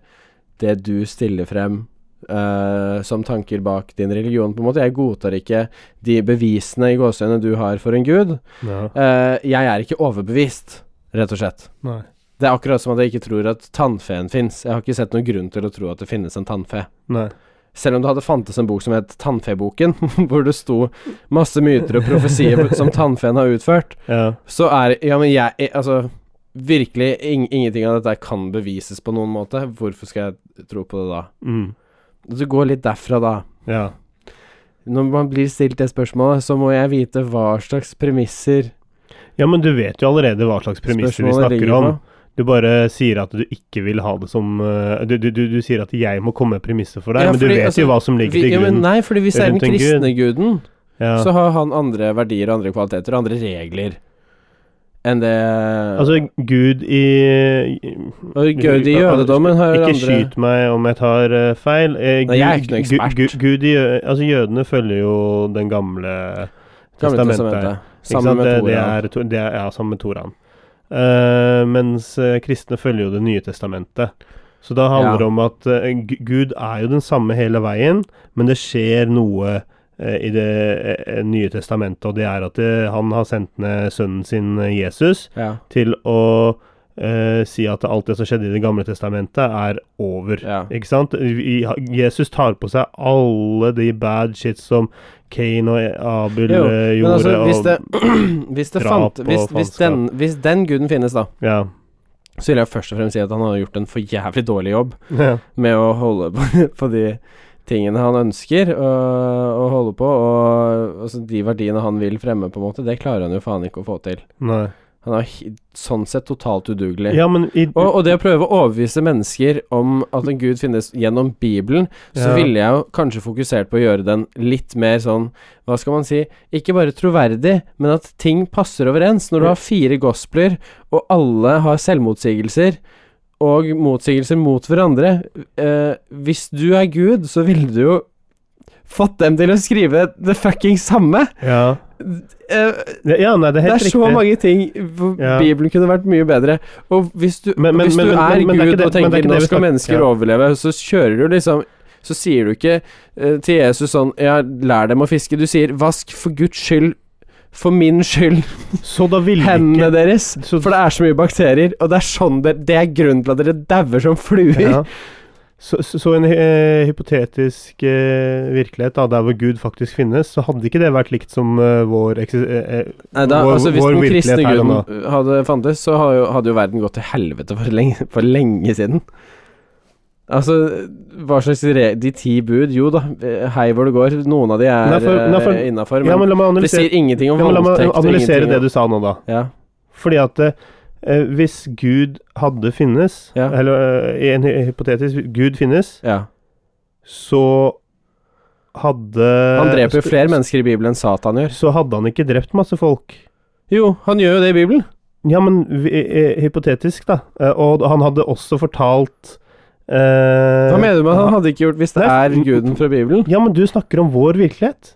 Speaker 1: det du stiller frem eh, som tanker bak din religion, på en måte. Jeg godtar ikke de bevisene i gåseøynene du har for en gud.
Speaker 2: ja.
Speaker 1: Eh, jeg er ikke overbevist, rett og slett.
Speaker 2: Nei.
Speaker 1: Det er akkurat som at jeg ikke tror at tannfeen fins. Jeg har ikke sett noen grunn til å tro at det finnes en tannfe.
Speaker 2: Nei.
Speaker 1: Selv om det hadde fantes en bok som het Tannfeboken, hvor det sto masse myter og profesier som tannfeen har utført,
Speaker 2: Ja.
Speaker 1: så er Ja, men jeg jeg- Altså, virkelig ing ingenting av dette kan bevises på noen måte. Hvorfor skal jeg tro på det da?
Speaker 2: Mm.
Speaker 1: Du går litt derfra, da.
Speaker 2: ja.
Speaker 1: Når man blir stilt det spørsmålet, så må jeg vite hva slags premisser
Speaker 2: Ja, men du vet jo allerede hva slags premisser vi
Speaker 1: spørsmålet
Speaker 2: snakker
Speaker 1: ligger
Speaker 2: om.
Speaker 1: på.
Speaker 2: Du bare sier at du ikke vil ha det som eh, Du, du, du, du sier at jeg må komme med premisser for deg,
Speaker 1: Ja,
Speaker 2: men du
Speaker 1: fordi,
Speaker 2: vet
Speaker 1: altså,
Speaker 2: jo hva som ligger
Speaker 1: Vi,
Speaker 2: til
Speaker 1: ja, men
Speaker 2: grunn.
Speaker 1: nei, fordi hvis det er den
Speaker 2: rundt en gud.
Speaker 1: kristne guden,
Speaker 2: Ja.
Speaker 1: så har han andre verdier og andre kvaliteter og andre regler enn det
Speaker 2: altså, Gud i
Speaker 1: Og Gud i jødedommen har
Speaker 2: Ikke
Speaker 1: andre
Speaker 2: skyt meg om jeg tar eh, feil. Eh,
Speaker 1: Nei, jeg er ikke noe
Speaker 2: Gud-
Speaker 1: ekspert.
Speaker 2: Gud, Gud i jø- altså, jødene følger jo den gamle
Speaker 1: Gamle
Speaker 2: testamentet.
Speaker 1: testamentet.
Speaker 2: Ikke
Speaker 1: Sammen
Speaker 2: sant?
Speaker 1: med
Speaker 2: det, det
Speaker 1: Toraen.
Speaker 2: er, to- det er, ja, sammen med Toraen. Eh, mens eh, kristne følger jo Det nye testamentet. Så da handler
Speaker 1: Ja.
Speaker 2: det om at eh, Gu- Gud er jo den samme hele veien, men det skjer noe eh, i Det eh, nye testamentet, og det er at eh, han har sendt ned sønnen sin eh, Jesus
Speaker 1: Ja.
Speaker 2: til å eh, si at alt det som skjedde i Det gamle testamentet, er over.
Speaker 1: Ja.
Speaker 2: Ikke sant? Vi- Jesus tar på seg alle de bad shit som Kane og Abel
Speaker 1: Jo,
Speaker 2: eh,
Speaker 1: Men
Speaker 2: gjorde.
Speaker 1: altså, hvis
Speaker 2: og,
Speaker 1: det, Mm, hvis det
Speaker 2: drap
Speaker 1: fant
Speaker 2: og
Speaker 1: hvis, hvis,
Speaker 2: faenskap.
Speaker 1: den, hvis den guden finnes, da,
Speaker 2: Ja.
Speaker 1: så vil jeg først og fremst si at han har gjort en for jævlig dårlig jobb
Speaker 2: ja.
Speaker 1: med å holde på, på de tingene han ønsker å, å holde på, og altså, de verdiene han vil fremme, på en måte, det klarer han jo faen ikke å få til.
Speaker 2: Nei.
Speaker 1: Han er hi- sånn sett totalt udugelig.
Speaker 2: Ja, men i,
Speaker 1: Og, og det å prøve å overbevise mennesker om at en gud finnes gjennom Bibelen, så
Speaker 2: Ja.
Speaker 1: ville jeg jo kanskje fokusert på å gjøre den litt mer sånn, hva skal man si, ikke bare troverdig, men at ting passer overens. Når du har fire gospeler, og alle har selvmotsigelser, og motsigelser mot hverandre eh, Hvis du er Gud, så ville du jo fått dem til å skrive det fucking samme.
Speaker 2: ja.
Speaker 1: Eh,
Speaker 2: ja, nei, det er
Speaker 1: det
Speaker 2: helt
Speaker 1: er så
Speaker 2: riktig.
Speaker 1: mange ting hvor
Speaker 2: Ja.
Speaker 1: Bibelen kunne vært mye bedre. Og hvis du,
Speaker 2: Men- men-
Speaker 1: hvis du
Speaker 2: men-
Speaker 1: er
Speaker 2: men- men det er ikke
Speaker 1: Gud og
Speaker 2: det- men det er
Speaker 1: tenker
Speaker 2: ikke det
Speaker 1: 'nå
Speaker 2: vi
Speaker 1: skal
Speaker 2: snakker-
Speaker 1: mennesker
Speaker 2: ja.
Speaker 1: overleve', så kjører du liksom Så sier du ikke eh, til Jesus sånn 'ja, lær dem å fiske'. Du sier 'vask for Guds skyld, for min skyld,
Speaker 2: Så da ville
Speaker 1: hendene
Speaker 2: ikke
Speaker 1: deres'.
Speaker 2: så,
Speaker 1: For det er så mye bakterier, og det er sånn det, det er grunnen til at dere dauer som fluer.
Speaker 2: ja. Så, så, så en eh, hypotetisk eh, virkelighet, da, der hvor Gud faktisk finnes, så hadde ikke det vært likt som eh, vår eksis... Eh, eh,
Speaker 1: Nei, da,
Speaker 2: Vår-
Speaker 1: altså Hvis
Speaker 2: vår
Speaker 1: den kristne
Speaker 2: virkelighet her og
Speaker 1: guden hadde fantes, så hadde jo, hadde jo verden gått til helvete for lenge, for lenge siden. Altså, hva slags re De ti bud, jo da, hei hvor det går. Noen av de er eh,
Speaker 2: Nei, for- nei, for-
Speaker 1: innafor, men,
Speaker 2: ja, men la meg
Speaker 1: det sier
Speaker 2: analysere,
Speaker 1: ingenting
Speaker 2: ja,
Speaker 1: om
Speaker 2: men la meg
Speaker 1: voldtekt. og
Speaker 2: analysere
Speaker 1: ingenting
Speaker 2: det
Speaker 1: om-
Speaker 2: du sa nå, da.
Speaker 1: Ja.
Speaker 2: Fordi at eh, hvis Gud hadde finnes,
Speaker 1: Ja.
Speaker 2: eller eh, i en hy- hypotetisk Gud finnes,
Speaker 1: ja.
Speaker 2: så hadde
Speaker 1: Han dreper jo
Speaker 2: så-
Speaker 1: flere mennesker i Bibelen enn Satan gjør.
Speaker 2: Så hadde han ikke drept masse folk.
Speaker 1: Jo, han gjør jo det i Bibelen.
Speaker 2: Ja, men vi- eh, hypotetisk, da. Eh, Og han hadde også fortalt eh,
Speaker 1: Hva mener du med at han hadde ikke gjort hvis det
Speaker 2: Nei,
Speaker 1: er guden fra Bibelen?
Speaker 2: Ja, men du snakker om vår virkelighet.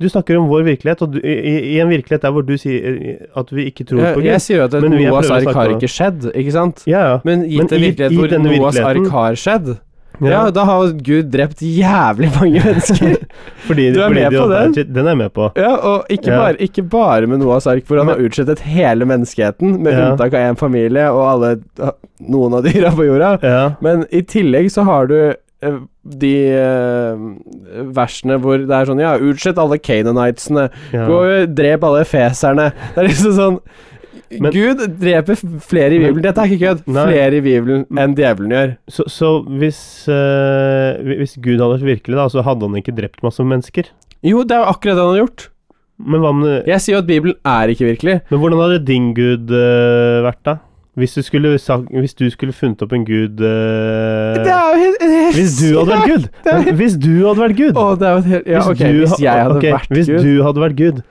Speaker 2: Du snakker om vår virkelighet, og du, i, i- i en virkelighet der hvor du sier eh, at vi ikke tror på
Speaker 1: Jeg,
Speaker 2: Gud.
Speaker 1: jeg sier jo at et
Speaker 2: Men vi- jeg
Speaker 1: Noahs
Speaker 2: prøver å
Speaker 1: ark
Speaker 2: snakke
Speaker 1: har
Speaker 2: om det.
Speaker 1: ikke skjedd, ikke sant?
Speaker 2: Ja, ja.
Speaker 1: Men gitt
Speaker 2: Men
Speaker 1: en
Speaker 2: i-
Speaker 1: virkelighet
Speaker 2: i
Speaker 1: hvor
Speaker 2: denne
Speaker 1: Noahs ark
Speaker 2: virkeligheten-
Speaker 1: har skjedd, ja. da har Gud drept jævlig mange mennesker.
Speaker 2: Fordi,
Speaker 1: Du er
Speaker 2: fordi
Speaker 1: med
Speaker 2: de
Speaker 1: på
Speaker 2: hadde-
Speaker 1: den?
Speaker 2: Den er jeg med på.
Speaker 1: ja, og ikke,
Speaker 2: Ja.
Speaker 1: Bare, ikke bare med Noahs ark, hvor han har utslettet hele menneskeheten, med
Speaker 2: Ja.
Speaker 1: unntak av én familie og alle, noen av dyra på jorda.
Speaker 2: Ja.
Speaker 1: Men i tillegg så har du eh, de eh, versene hvor det er sånn Ja, utslett alle canaanitesene.
Speaker 2: ja.
Speaker 1: Gå og drep alle feserne. Det er liksom sånn
Speaker 2: Men-
Speaker 1: Gud dreper f- flere i Bibelen. Dette er ikke kødd.
Speaker 2: Nei.
Speaker 1: Flere i Bibelen enn djevelen gjør.
Speaker 2: Så, så hvis, eh, hvi- hvis Gud hadde vært virkelig, da, så hadde han ikke drept masse mennesker.
Speaker 1: Jo, det er jo akkurat det han har gjort.
Speaker 2: Men, hva med,
Speaker 1: Jeg sier jo at Bibelen er ikke virkelig.
Speaker 2: men hvordan hadde din Gud eh, vært, da? Hvis du, skulle, sagt- hvis du skulle funnet opp en Gud eh,
Speaker 1: Det er jo helt, helt
Speaker 2: Hvis du hadde vært Gud!
Speaker 1: det er-
Speaker 2: Men Hvis du hadde vært Gud!
Speaker 1: Å, det er jo et helt Ja,
Speaker 2: Hvis
Speaker 1: ok,
Speaker 2: du
Speaker 1: hvis
Speaker 2: ha-
Speaker 1: jeg hadde
Speaker 2: ok,
Speaker 1: vært
Speaker 2: Hvis
Speaker 1: Gud Eh,
Speaker 2: du hadde vært Gud.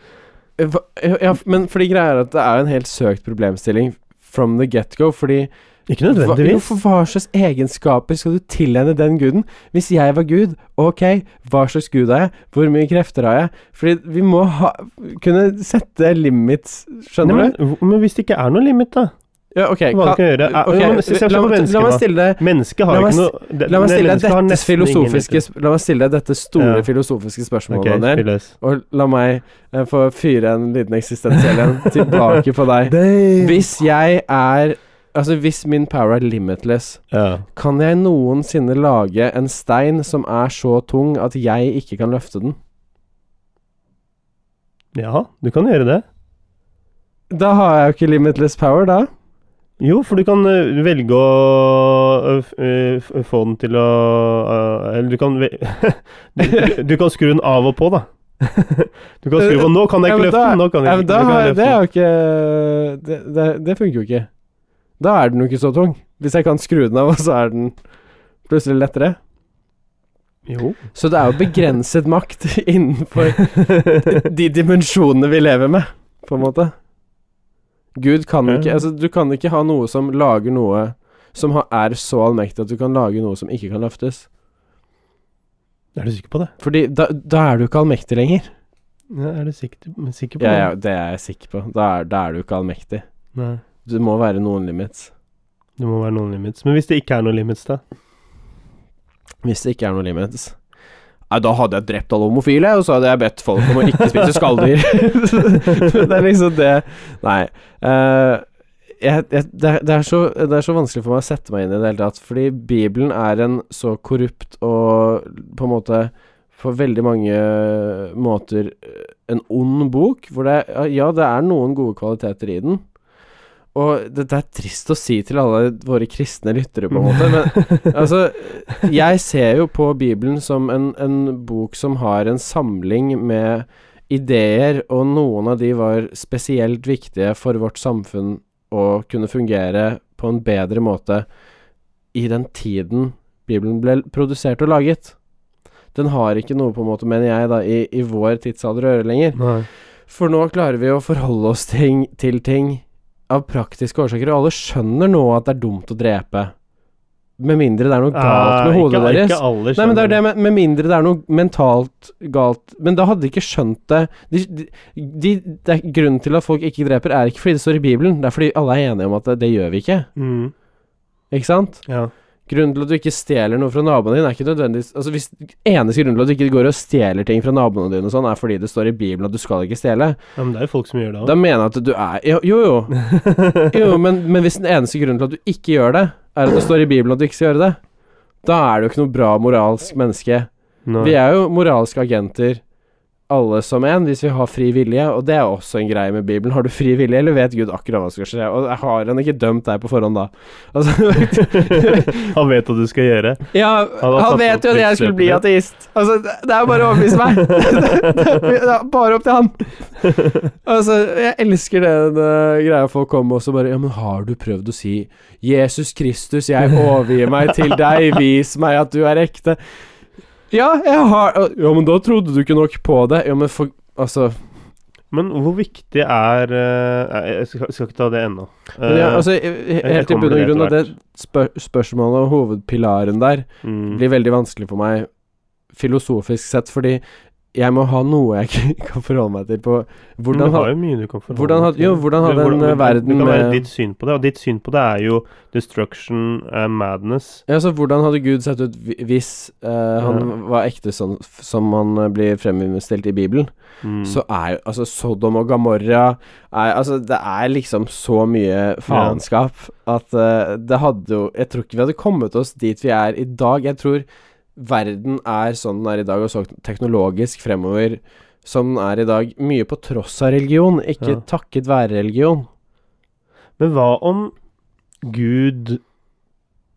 Speaker 1: Hva- ja, Men fordi greia er at det er jo en helt søkt problemstilling from the get-go, fordi
Speaker 2: Ikke
Speaker 1: Hva, jo,
Speaker 2: nødvendigvis.
Speaker 1: for hva slags egenskaper skal du tilegne den guden? Hvis jeg var gud, ok, hva slags gud er jeg? Hvor mye krefter har jeg? Fordi vi må ha, kunne sette limits,
Speaker 2: Nei,
Speaker 1: skjønner
Speaker 2: men,
Speaker 1: du?
Speaker 2: hvor- men hvis det ikke er noe limit, da?
Speaker 1: Ja, ok,
Speaker 2: Hva kan jeg gjøre? Er-
Speaker 1: ok,
Speaker 2: ja, men se- se på
Speaker 1: la, meg,
Speaker 2: mennesket,
Speaker 1: la meg
Speaker 2: da.
Speaker 1: stille deg
Speaker 2: Mennesket har
Speaker 1: La meg
Speaker 2: ikke
Speaker 1: s-
Speaker 2: noe det-
Speaker 1: La meg
Speaker 2: nei,
Speaker 1: stille
Speaker 2: mennesket har
Speaker 1: deg dette
Speaker 2: nesten ingen
Speaker 1: filosofiske sp- La meg stille deg dette store
Speaker 2: Ja.
Speaker 1: filosofiske spørsmålet,
Speaker 2: Ok,
Speaker 1: Daniel.
Speaker 2: spill løs.
Speaker 1: Og la meg eh, få fyre en liten eksistensiell en tilbake på deg. Hvis jeg er Altså, hvis min power er limitless,
Speaker 2: Ja.
Speaker 1: Kan jeg noensinne lage en stein som er så tung at jeg ikke kan løfte den?
Speaker 2: ja, du kan gjøre det.
Speaker 1: Da har jeg jo ikke limitless power, da.
Speaker 2: Jo, for du kan eh, velge å eh, f- eh, f- få den til å eh, Eller du kan vel- du, du kan skru den av og på, da. Du kan skru på 'Nå kan jeg
Speaker 1: Ja,
Speaker 2: ikke
Speaker 1: men
Speaker 2: løfte
Speaker 1: da-
Speaker 2: den', nå kan
Speaker 1: Ja,
Speaker 2: jeg
Speaker 1: men
Speaker 2: ikke,
Speaker 1: da
Speaker 2: nå kan
Speaker 1: har,
Speaker 2: jeg
Speaker 1: det er
Speaker 2: løfte den.
Speaker 1: jo ikke det, det, det funker jo ikke. Da er den jo ikke så tung. Hvis jeg kan skru den av, så er den plutselig lettere.
Speaker 2: Jo.
Speaker 1: Så det er jo begrenset makt innenfor de dimensjonene vi lever med, på en måte. Gud kan jo ikke
Speaker 2: Ja.
Speaker 1: Altså, du kan ikke ha noe som lager noe som har, er så allmektig at du kan lage noe som ikke kan løftes.
Speaker 2: Er du sikker på det?
Speaker 1: Fordi da, da er du ikke allmektig lenger. Mm.
Speaker 2: Ja, er du sikker, men sikker på
Speaker 1: Ja,
Speaker 2: det?
Speaker 1: ja, det er jeg sikker på. Da er, da er du ikke allmektig.
Speaker 2: Nei.
Speaker 1: Det må være noen limits.
Speaker 2: Det må være noen limits. Men hvis det ikke er noen limits, da?
Speaker 1: Hvis det ikke er noen limits. Nei, da hadde jeg drept alle homofile, og så hadde jeg bedt folk om å ikke spise skalldyr. det er liksom det Nei. eh, jeg, jeg, det, er, det, er så, det er så vanskelig for meg å sette meg inn i det hele tatt, fordi Bibelen er en så korrupt og på en måte på veldig mange måter eh, en ond bok, hvor det Ja, det er noen gode kvaliteter i den. Og dette er trist å si til alle våre kristne lyttere, på en måte, men altså, jeg ser jo på Bibelen som en, en bok som har en samling med ideer, og noen av de var spesielt viktige for vårt samfunn å kunne fungere på en bedre måte i den tiden Bibelen ble produsert og laget. Den har ikke noe, på en måte, mener jeg, da, i, i vår tidsalder å gjøre lenger.
Speaker 2: Nei.
Speaker 1: For nå klarer vi å forholde oss ting, til ting av praktiske årsaker, og alle skjønner nå at det er dumt å drepe. Med mindre det er noe galt med
Speaker 2: Eh,
Speaker 1: hodet
Speaker 2: ikke,
Speaker 1: deres.
Speaker 2: Ikke alle
Speaker 1: Nei, men det er det
Speaker 2: skjønner.
Speaker 1: med, med mindre det er noe mentalt galt Men da hadde de ikke skjønt det. De, de, de, det er grunnen til at folk ikke dreper, er ikke fordi det står i Bibelen. Det er fordi alle er enige om at det, det gjør vi ikke.
Speaker 2: Mm,
Speaker 1: Ikke sant?
Speaker 2: ja.
Speaker 1: Grunnen til at du ikke stjeler noe fra naboen din, er ikke nødvendigvis Altså, hvis eneste grunnen til at du ikke går og stjeler ting fra naboene dine og sånn, er fordi det står i Bibelen at du skal ikke stjele,
Speaker 2: ja, men det er jo folk som gjør det
Speaker 1: da
Speaker 2: òg.
Speaker 1: mener jeg at du er Jo, jo. jo. jo men, men hvis den eneste grunnen til at du ikke gjør det, er at det står i Bibelen at du ikke skal gjøre det, Da er du ikke noe bra moralsk menneske.
Speaker 2: Nei.
Speaker 1: Vi er jo moralske agenter, alle som en, hvis vi har fri vilje, og det er også en greie med Bibelen. Har du fri vilje, eller vet Gud akkurat hva som skal skje? Og har han ikke dømt deg på forhånd da? Altså,
Speaker 2: Han vet hva du skal gjøre.
Speaker 1: ja,
Speaker 2: Han
Speaker 1: han,
Speaker 2: har tatt
Speaker 1: vet jo at
Speaker 2: opp
Speaker 1: jeg skulle bli
Speaker 2: livsløpet
Speaker 1: ateist. Altså, det det er jo bare å overbevise meg. det er bare opp til han. Altså, jeg elsker den eh, greia folk kommer og så bare Ja, men har du prøvd å si 'Jesus Kristus, jeg overgir meg til deg, vis meg at du er ekte'? Ja, jeg har Ja, men da trodde du ikke nok på det. Ja, men for Altså,
Speaker 2: Men hvor viktig er eh, nei, Jeg skal, skal ikke ta det ennå.
Speaker 1: men ja, altså eh,
Speaker 2: jeg
Speaker 1: helt i
Speaker 2: kommer
Speaker 1: bunn og
Speaker 2: til det
Speaker 1: grunn at det
Speaker 2: etter
Speaker 1: spør spørsmålet og hovedpilaren der
Speaker 2: Mm.
Speaker 1: blir veldig vanskelig for meg filosofisk sett, fordi jeg må ha noe jeg ikke kan forholde meg til på
Speaker 2: Men
Speaker 1: Hvordan
Speaker 2: du
Speaker 1: ha
Speaker 2: har jo mye du kan forholde
Speaker 1: hvordan
Speaker 2: deg
Speaker 1: had- jo,
Speaker 2: til.
Speaker 1: hvordan hadde
Speaker 2: Du-
Speaker 1: en, eh,
Speaker 2: det-
Speaker 1: verden
Speaker 2: Det kan være
Speaker 1: med-
Speaker 2: ditt syn på det, og ditt syn på det er jo destruction eh, madness.
Speaker 1: Ja, så Hvordan hadde Gud sett ut hvi- hvis eh, han var ekte sånn f- som han eh, blir fremstilt i Bibelen?
Speaker 2: Mm.
Speaker 1: Så er jo altså Sodom og Gomorra er, Altså, det er liksom så mye faenskap at eh, det hadde jo Jeg tror ikke vi hadde kommet oss dit vi er i dag. Jeg tror verden er sånn den er i dag, og så teknologisk fremover som den er i dag. Mye på tross av religion, ikke
Speaker 2: Ja.
Speaker 1: takket være religion.
Speaker 2: Men hva om Gud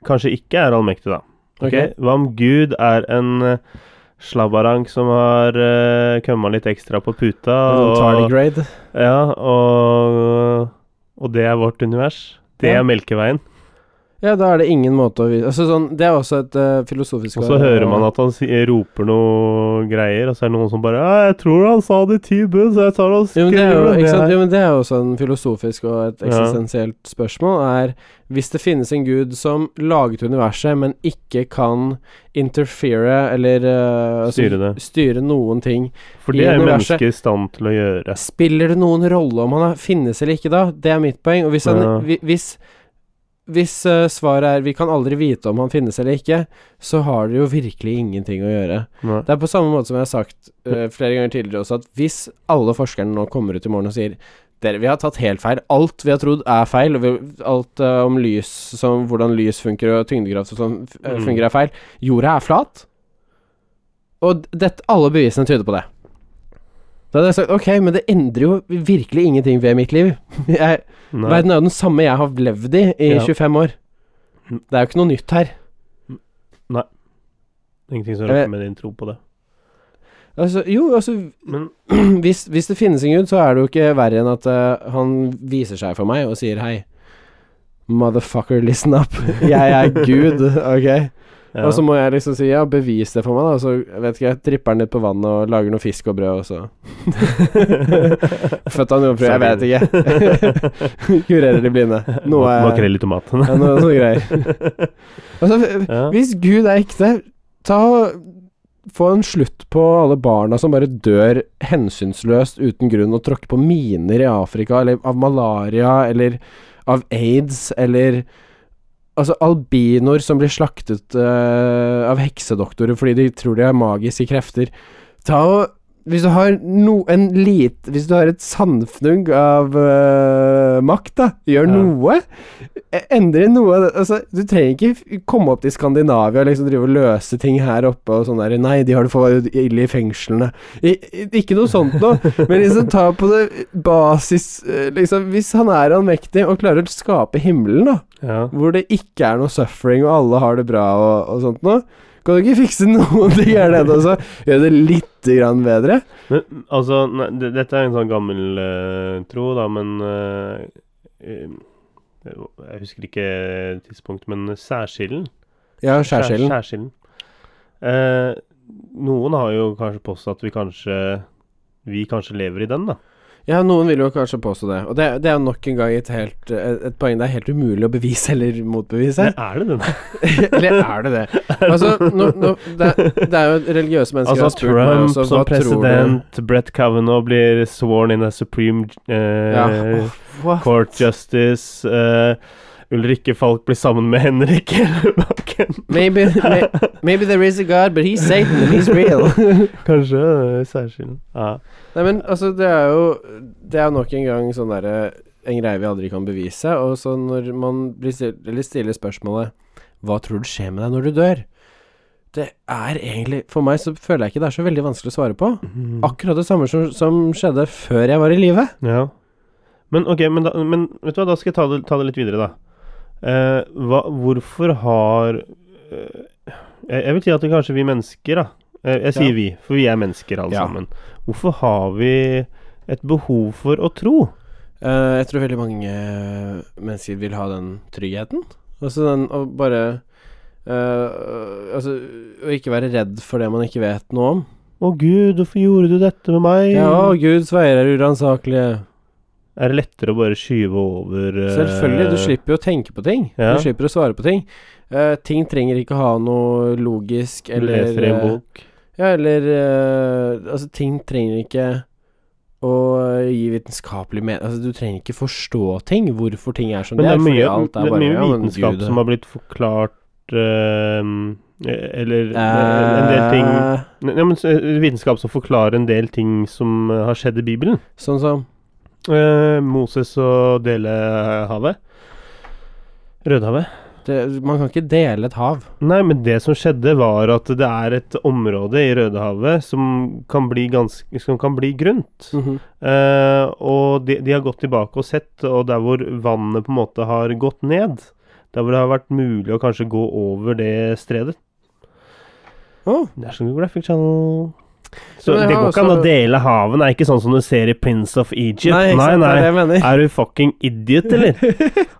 Speaker 2: kanskje ikke er allmektig, da? Ok? Hva om Gud er en eh, slabbarank som har uh, kommet litt ekstra på puta,
Speaker 1: Sånn
Speaker 2: og,
Speaker 1: tardigrade.
Speaker 2: ja, og, og det er vårt univers? Det
Speaker 1: Ja.
Speaker 2: er Melkeveien.
Speaker 1: Ja, da er det ingen måte å vise altså, sånn, Det er også et eh, filosofisk
Speaker 2: Og så hører man at han si- roper noe greier, og så er det noen som bare «Ja, 'Jeg tror han sa det i ti bud, så jeg tar og
Speaker 1: Jo, men det er jo,
Speaker 2: skriver det
Speaker 1: ikke sant?
Speaker 2: her».
Speaker 1: jo, men det er jo også en filosofisk og et
Speaker 2: Ja.
Speaker 1: eksistensielt spørsmål, er hvis det finnes en gud som laget universet, men ikke kan interfere eller eh, altså,
Speaker 2: Styre det.
Speaker 1: styre noen ting,
Speaker 2: For
Speaker 1: i
Speaker 2: det er jo
Speaker 1: universet.
Speaker 2: mennesket i stand til å gjøre.
Speaker 1: spiller det noen rolle om han er, finnes eller ikke da? Det er mitt poeng. Og hvis, han,
Speaker 2: Ja.
Speaker 1: hvi- hvis, hvis eh, svaret er 'vi kan aldri vite om han finnes eller ikke', så har det jo virkelig ingenting å gjøre.
Speaker 2: Nei.
Speaker 1: Det er på samme måte som jeg har sagt eh, flere ganger tidligere også, at hvis alle forskerne nå kommer ut i morgen og sier dere, vi har tatt helt feil. Alt vi har trodd er feil. Og vi, alt eh, om lys, som, hvordan lys funker og tyngdekraft og sånn f- eh,
Speaker 2: Mm.
Speaker 1: funker, er feil. Jorda er flat. Og d- dette, alle bevisene tyder på det. Da hadde jeg sagt ok, men det endrer jo virkelig ingenting ved mitt liv. Jeg,
Speaker 2: Nei.
Speaker 1: verden er jo den samme jeg har levd i i
Speaker 2: Ja.
Speaker 1: 25 år.
Speaker 2: Mm.
Speaker 1: Det er jo ikke noe nytt her.
Speaker 2: Ingenting som
Speaker 1: Jeg vet-
Speaker 2: rokker med din tro på det.
Speaker 1: Altså, jo, altså
Speaker 2: Men
Speaker 1: hvis, hvis det finnes en gud, så er det jo ikke verre enn at eh, han viser seg for meg og sier hei. Motherfucker, listen up. Jeg er Gud, ok?
Speaker 2: ja.
Speaker 1: Og så må jeg liksom si ja, bevis det for meg, da. Og så jeg vet ikke, jeg tripper han litt på vannet og lager noe fisk og brød, og så Født av jomfru, jeg vet ikke. Kurerer de blinde. Noe er
Speaker 2: Makrell i tomaten.
Speaker 1: ja, noe, noe greier. Altså,
Speaker 2: Ja.
Speaker 1: hvis Gud er ekte, ta Få en slutt på alle barna som bare dør hensynsløst uten grunn og tråkker på miner i Afrika, eller av malaria, eller av aids, eller Altså albinoer som blir slaktet eh, av heksedoktorer fordi de tror de har magiske krefter. Ta og Hvis du har no, en lite Hvis du har et sandfnugg av eh, makt, da, gjør
Speaker 2: Ja.
Speaker 1: noe. E- Endre noe av det. altså, Du trenger ikke f- komme opp til Skandinavia og liksom drive og løse ting her oppe og sånn der Nei, de har det for ille i fengslene. I, i, ikke noe sånt noe. Men liksom ta på det basis eh, liksom, Hvis han er allmektig og klarer å skape himmelen, da,
Speaker 2: Ja.
Speaker 1: hvor det ikke er noe suffering og alle har det bra og, og sånt noe, kan du ikke fikse noen ting her nede også? Gjøre det lite grann bedre?
Speaker 2: Men altså, nei, d- dette er en sånn gammel eh, tro, da, men eh, eh, Jeg husker ikke tidspunkt, men særskillen.
Speaker 1: Ja,
Speaker 2: Skjær-
Speaker 1: skjærsilden.
Speaker 2: skjærsilden. Eh, noen har jo kanskje påstått at vi kanskje Vi kanskje lever i den, da.
Speaker 1: Ja, noen vil jo kanskje påstå det. Og det, det er jo nok en gang et, helt, et, et poeng det er helt umulig å bevise eller motbevise.
Speaker 2: Men er det den?
Speaker 1: eller er det det? Altså, nå, nå, det, er- det er jo religiøse mennesker
Speaker 2: Altså
Speaker 1: har
Speaker 2: at
Speaker 1: spurt meg
Speaker 2: Trump
Speaker 1: også,
Speaker 2: som
Speaker 1: hva tror du?
Speaker 2: president, Brett Kavanaugh blir sworn in as supreme eh,
Speaker 1: Ja, åh, hva?
Speaker 2: court justice eh, Ulrikke Falk blir sammen med Henrik Elvebakken.
Speaker 1: Maybe, may, maybe there is a God, but he's Satan, and he's real.
Speaker 2: Kanskje eh, særskilt. Ja.
Speaker 1: Nei, men altså, det er jo Det er jo nok en gang sånn derre En greie vi aldri kan bevise. Og så når man blir stilt, eller stiller spørsmålet Hva tror du skjer med deg når du dør? Det er egentlig For meg så føler jeg ikke det er så veldig vanskelig å svare på.
Speaker 2: Mhm.
Speaker 1: Akkurat det samme som, som skjedde før jeg var i live.
Speaker 2: Ja. Men ok, men, da, men vet du hva, da skal jeg ta det, ta det litt videre, da. Eh, hva, hvorfor har eh, jeg, jeg vil si at det kanskje vi mennesker, da. Eh, jeg sier
Speaker 1: Ja.
Speaker 2: vi, for vi er mennesker alle
Speaker 1: Ja.
Speaker 2: sammen. Hvorfor har vi et behov for å tro?
Speaker 1: Eh, jeg tror veldig mange mennesker vil ha den tryggheten. Altså den å bare eh, Altså å ikke være redd for det man ikke vet noe om.
Speaker 2: Å gud, hvorfor gjorde du dette med meg?
Speaker 1: Ja, å Guds veier er uransakelige.
Speaker 2: Er det lettere å bare skyve over eh,
Speaker 1: Selvfølgelig. Du slipper jo å tenke på ting.
Speaker 2: ja.
Speaker 1: Du slipper å svare på ting. Eh, ting trenger ikke ha noe logisk
Speaker 2: Du
Speaker 1: eller
Speaker 2: leser i en
Speaker 1: eh,
Speaker 2: bok.
Speaker 1: Ja, eller eh, Altså, ting trenger ikke å gi vitenskapelig mening Altså, du trenger ikke forstå ting, hvorfor ting er som
Speaker 2: Men det er
Speaker 1: fordi
Speaker 2: mye,
Speaker 1: alt
Speaker 2: det er mye
Speaker 1: ja, men
Speaker 2: vitenskap
Speaker 1: Gud- eh.
Speaker 2: som har blitt forklart eh, Eller en del ting
Speaker 1: Eh,
Speaker 2: Ne- Ja, men s- eh, Vitenskap som forklarer en del ting som eh, har skjedd i Bibelen.
Speaker 1: Sånn som
Speaker 2: Eh, Moses og Delehavet. Rødehavet.
Speaker 1: det, Man kan ikke dele et hav.
Speaker 2: Nei, men det som skjedde, var at det er et område i Rødehavet som kan bli, ganske, som kan bli grunt. Eh, og de, de har gått tilbake og sett, og der hvor vannet på en måte har gått ned Der hvor det har vært mulig å kanskje gå over det stredet.
Speaker 1: Å.
Speaker 2: Det er sånn Graphic Channel Så
Speaker 1: Men jeg
Speaker 2: det
Speaker 1: har
Speaker 2: går ikke an
Speaker 1: også-
Speaker 2: å dele haven. Det er ikke sånn som du ser i Prince of Egypt.
Speaker 1: Nei,
Speaker 2: Nei,
Speaker 1: ikke
Speaker 2: nei.
Speaker 1: sant, det er det jeg mener.
Speaker 2: Er du fucking idiot, eller?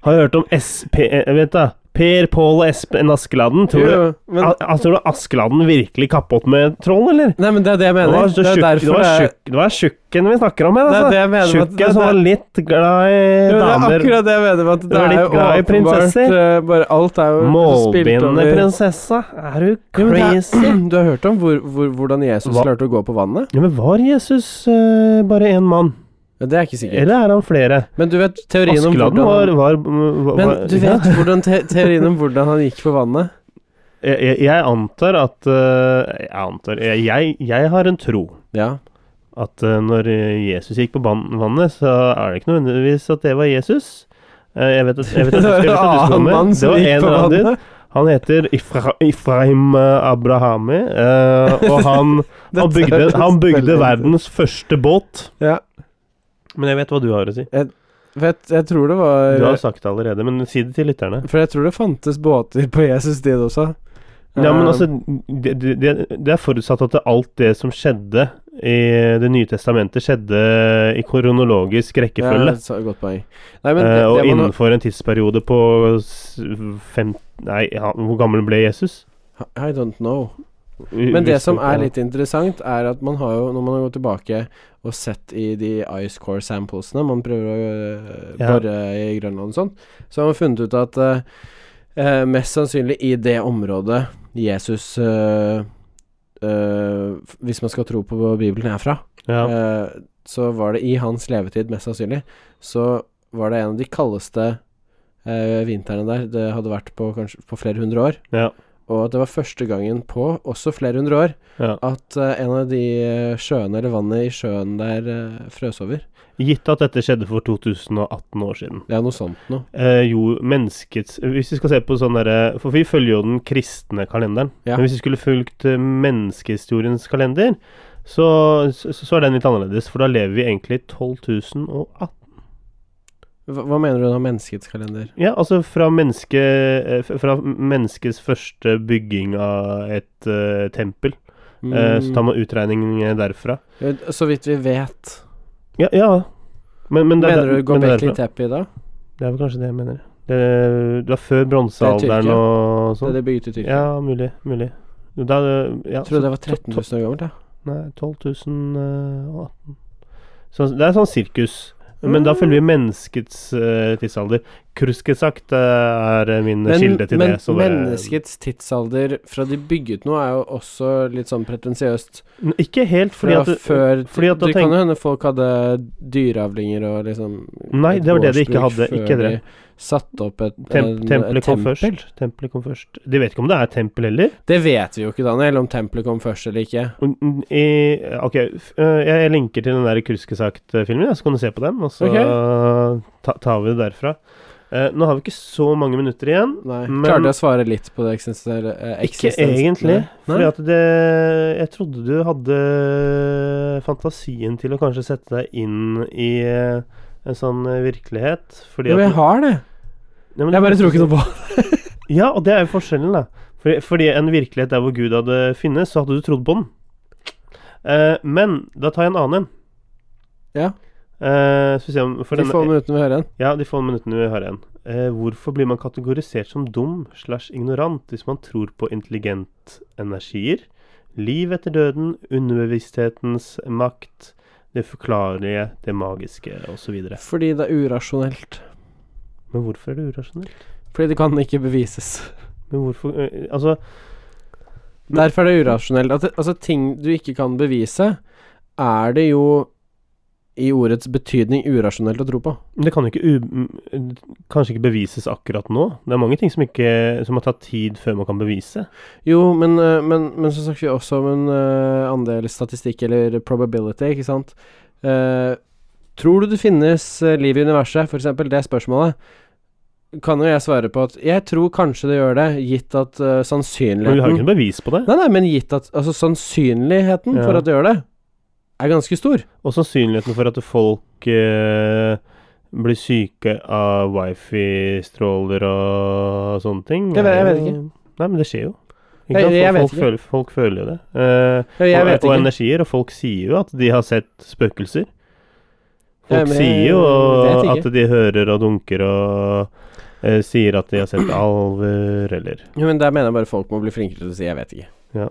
Speaker 2: Har du hørt om SP... eh, Vent, da. Per, Pål og Espen Askeladden. Tror du,
Speaker 1: Jo, men,
Speaker 2: Al- altså, tror du Askeladden virkelig kappåt med troll, eller?
Speaker 1: nei, men det er det jeg
Speaker 2: Det
Speaker 1: mener.
Speaker 2: var,
Speaker 1: Det
Speaker 2: så
Speaker 1: er
Speaker 2: tjukk- det
Speaker 1: derfor
Speaker 2: var,
Speaker 1: det er-
Speaker 2: tjukk- det var tjukken vi snakker om her,
Speaker 1: Det er
Speaker 2: altså.
Speaker 1: det jeg mener med at- det er-
Speaker 2: Tjukken som var litt glad i
Speaker 1: Jo, det er
Speaker 2: Eh, damer.
Speaker 1: akkurat det jeg mener med at det,
Speaker 2: var
Speaker 1: er
Speaker 2: litt
Speaker 1: jo
Speaker 2: glad i
Speaker 1: åpenbart
Speaker 2: prinsesser.
Speaker 1: eh, bare Alt er jo spilt
Speaker 2: Målbindende
Speaker 1: over.
Speaker 2: prinsessa. Er du
Speaker 1: Jo, men det er-
Speaker 2: crazy?
Speaker 1: Du har hørt om hvor, hvor, hvordan Jesus
Speaker 2: Hva?
Speaker 1: lærte å gå på vannet?
Speaker 2: Ja, men var Jesus eh, bare én mann?
Speaker 1: Ja, Det er ikke sikkert.
Speaker 2: Eller er han flere?
Speaker 1: Men du vet teorien om
Speaker 2: Askeladden
Speaker 1: hvordan
Speaker 2: var,
Speaker 1: han,
Speaker 2: var, var
Speaker 1: Men du
Speaker 2: ja.
Speaker 1: vet hvordan te teorien om hvordan han gikk på vannet?
Speaker 2: jeg, jeg, jeg antar at eh, Jeg antar jeg, jeg, jeg har en tro
Speaker 1: Ja.
Speaker 2: at eh, når eh, Jesus gikk på ban- vannet, så er det ikke nødvendigvis at det var Jesus. Eh, Jeg vet at, jeg vet at, jeg vet at du skal med. Det var en eller annen dude. Han heter Ifra, Ifraim eh, Abrahami, eh, og han, han,
Speaker 1: Dette
Speaker 2: bygde,
Speaker 1: høres
Speaker 2: han
Speaker 1: veldig
Speaker 2: bygde
Speaker 1: ut.
Speaker 2: verdens første båt.
Speaker 1: Ja.
Speaker 2: Men jeg vet hva du har å si.
Speaker 1: Vet, jeg tror det
Speaker 2: Du
Speaker 1: var
Speaker 2: har sagt det allerede, men si det til lytterne.
Speaker 1: For jeg tror det fantes båter på Jesus' tid også.
Speaker 2: Ja, men
Speaker 1: Eh,
Speaker 2: altså, det, det, det- det er forutsatt at det- alt det som skjedde i Det nye testamentet, skjedde i koronologisk
Speaker 1: ja,
Speaker 2: rekkefølge.
Speaker 1: så- Godt poeng. Nei, men
Speaker 2: Eh,
Speaker 1: det,
Speaker 2: og
Speaker 1: det man,
Speaker 2: innenfor en tidsperiode på s- fem... Nei, ja, hvor gammel ble Jesus?
Speaker 1: I don't know. Men det
Speaker 2: Hvis-
Speaker 1: som er
Speaker 2: ja.
Speaker 1: litt interessant, er at man har jo, når man har gått tilbake og sett i de ice core samplesene man prøver å øh,
Speaker 2: Ja.
Speaker 1: bore i Grønland og sånn, så har man funnet ut at øh, øh, mest sannsynlig i det området Jesus øh, øh, f- Hvis man skal tro på Bibelen er fra,
Speaker 2: ja.
Speaker 1: Eh, så var det i hans levetid, mest sannsynlig, så var det en av de kaldeste eh, vintrene der det hadde vært på, kanskje, på flere hundre år.
Speaker 2: Ja.
Speaker 1: Og at det var første gangen på også flere hundre år
Speaker 2: Ja.
Speaker 1: at eh, en av de eh, sjøene eller vannet i sjøen der eh, frøs over.
Speaker 2: Gitt at dette skjedde for 2018 år siden.
Speaker 1: Det er noe sånt noe.
Speaker 2: Eh, jo, menneskets Hvis vi skal se på sånn derre For vi følger jo den kristne kalenderen.
Speaker 1: Ja.
Speaker 2: Men hvis vi skulle fulgt eh, menneskehistoriens kalender, så, så, så er den litt annerledes. For da lever vi egentlig i 12.018
Speaker 1: Hva, hva mener du da, menneskets kalender?
Speaker 2: Ja, altså fra, menneske, eh, f- fra menneskets første bygging av et eh, tempel. Eh,
Speaker 1: Mm.
Speaker 2: Så tar man utregning eh, derfra.
Speaker 1: Eh, Så vidt vi vet.
Speaker 2: Ja, ja. Men, men det, er-
Speaker 1: Mener du
Speaker 2: men det, er
Speaker 1: Gobekli
Speaker 2: derfra.
Speaker 1: Tepe i dag?
Speaker 2: det er vel kanskje det jeg mener. Det, det er
Speaker 1: Det
Speaker 2: før
Speaker 1: er
Speaker 2: bronsealderen
Speaker 1: Tyrkia.
Speaker 2: og
Speaker 1: Det
Speaker 2: sånn.
Speaker 1: de bygget i Tyrkia?
Speaker 2: Ja, mulig. Mulig. Da, ja,
Speaker 1: Tror du det var
Speaker 2: så-
Speaker 1: 13 000 år gammelt, da?
Speaker 2: Nei, 12.018 Så det er sånn sirkus. Men
Speaker 1: Mm.
Speaker 2: da følger vi menneskets eh, tidsalder. Kruskesagt er eh, min kilde til det. så bare-
Speaker 1: menneskets tidsalder fra de bygget noe, er jo også litt sånn pretensiøst.
Speaker 2: N- Ikke helt, fordi
Speaker 1: Fordi
Speaker 2: at eh,
Speaker 1: før
Speaker 2: fordi at da
Speaker 1: Det
Speaker 2: tenk-
Speaker 1: kan jo hende folk hadde dyreavlinger og liksom
Speaker 2: Nei,
Speaker 1: et
Speaker 2: det var det de ikke
Speaker 1: gårdsbruk
Speaker 2: hadde,
Speaker 1: før
Speaker 2: ikke det.
Speaker 1: de Satte opp et,
Speaker 2: temp
Speaker 1: en-
Speaker 2: tempelet
Speaker 1: et
Speaker 2: kom
Speaker 1: eh, tempel.
Speaker 2: først. Tempelet kom først. De vet ikke om det er tempel heller.
Speaker 1: Det vet vi jo ikke, Daniel, om tempelet kom først eller ikke.
Speaker 2: Og n- I, ok, f- eh, jeg linker til den der Kruskesagt-filmen, ja, så kan du se på den, og så
Speaker 1: Ok.
Speaker 2: ta, tar vi det derfra. Eh, nå har vi ikke så mange minutter igjen.
Speaker 1: Nei.
Speaker 2: Men-
Speaker 1: Klarte jeg å svare litt på det eksistensielle eh,
Speaker 2: Ikke
Speaker 1: eksistens-
Speaker 2: egentlig.
Speaker 1: Nei.
Speaker 2: Fordi at det Jeg trodde du hadde eh, fantasien til å kanskje sette deg inn i eh, en sånn eh, virkelighet. Fordi
Speaker 1: Jo,
Speaker 2: at
Speaker 1: jeg har det.
Speaker 2: Ja, men-
Speaker 1: Jeg bare tror ikke noe på det.
Speaker 2: Ja, og det er jo forskjellen, da. Fordi, fordi en virkelighet der hvor Gud hadde finnes, så hadde du trodd på den. Eh, men da tar jeg en annen en.
Speaker 1: Ja.
Speaker 2: Eh, skal vi se om for
Speaker 1: De
Speaker 2: denne-
Speaker 1: få minuttene vi hører igjen.
Speaker 2: ja, de få minuttene vi har igjen. Eh, hvorfor blir man kategorisert som dum slash ignorant hvis man tror på intelligentenergier, liv etter døden, underbevissthetens makt, det forklarlige, det magiske osv.?
Speaker 1: Fordi det er urasjonelt.
Speaker 2: Men hvorfor er det urasjonelt?
Speaker 1: Fordi det kan ikke bevises.
Speaker 2: Men hvorfor eh, Altså, Men-
Speaker 1: Derfor er det urasjonelt. At, det- altså, ting du ikke kan bevise, er det jo i ordets betydning urasjonelt å tro på.
Speaker 2: det kan jo ikke u m- kanskje ikke bevises akkurat nå. Det er mange ting som, ikke, som har tatt tid før man kan bevise.
Speaker 1: Jo, men, øh, men, men så snakker vi også om en øh, andel statistikk, eller probability, ikke sant. Eh, tror du det finnes eh, liv i universet, for eksempel? Det er spørsmålet. Kan jo jeg svare på at jeg tror kanskje det gjør det, gitt at eh,
Speaker 2: Men vi har jo
Speaker 1: sannsynligheten
Speaker 2: ikke noe bevis på det.
Speaker 1: Nei, nei, men gitt at Altså, sannsynligheten
Speaker 2: Ja.
Speaker 1: for at det gjør det, er ganske stor.
Speaker 2: Og sannsynligheten for at folk eh, blir syke av wifi-stråler og sånne ting
Speaker 1: Jeg vet- jeg
Speaker 2: er
Speaker 1: vet
Speaker 2: jo- Nei, men det skjer jo. Ikke
Speaker 1: Jeg-
Speaker 2: sant?
Speaker 1: jeg vet
Speaker 2: folk,
Speaker 1: ikke.
Speaker 2: Føler, folk føler jo det.
Speaker 1: Ja,
Speaker 2: Eh,
Speaker 1: jeg
Speaker 2: og,
Speaker 1: vet
Speaker 2: og
Speaker 1: ikke.
Speaker 2: energier. Og folk sier jo at de har sett spøkelser. Folk
Speaker 1: Ja, men jeg
Speaker 2: sier jo
Speaker 1: vet
Speaker 2: at de hører og dunker og eh, sier at de har sett alver, eller
Speaker 1: Jo, men der mener jeg bare folk må bli flinkere til å si 'jeg vet ikke'.
Speaker 2: Ja.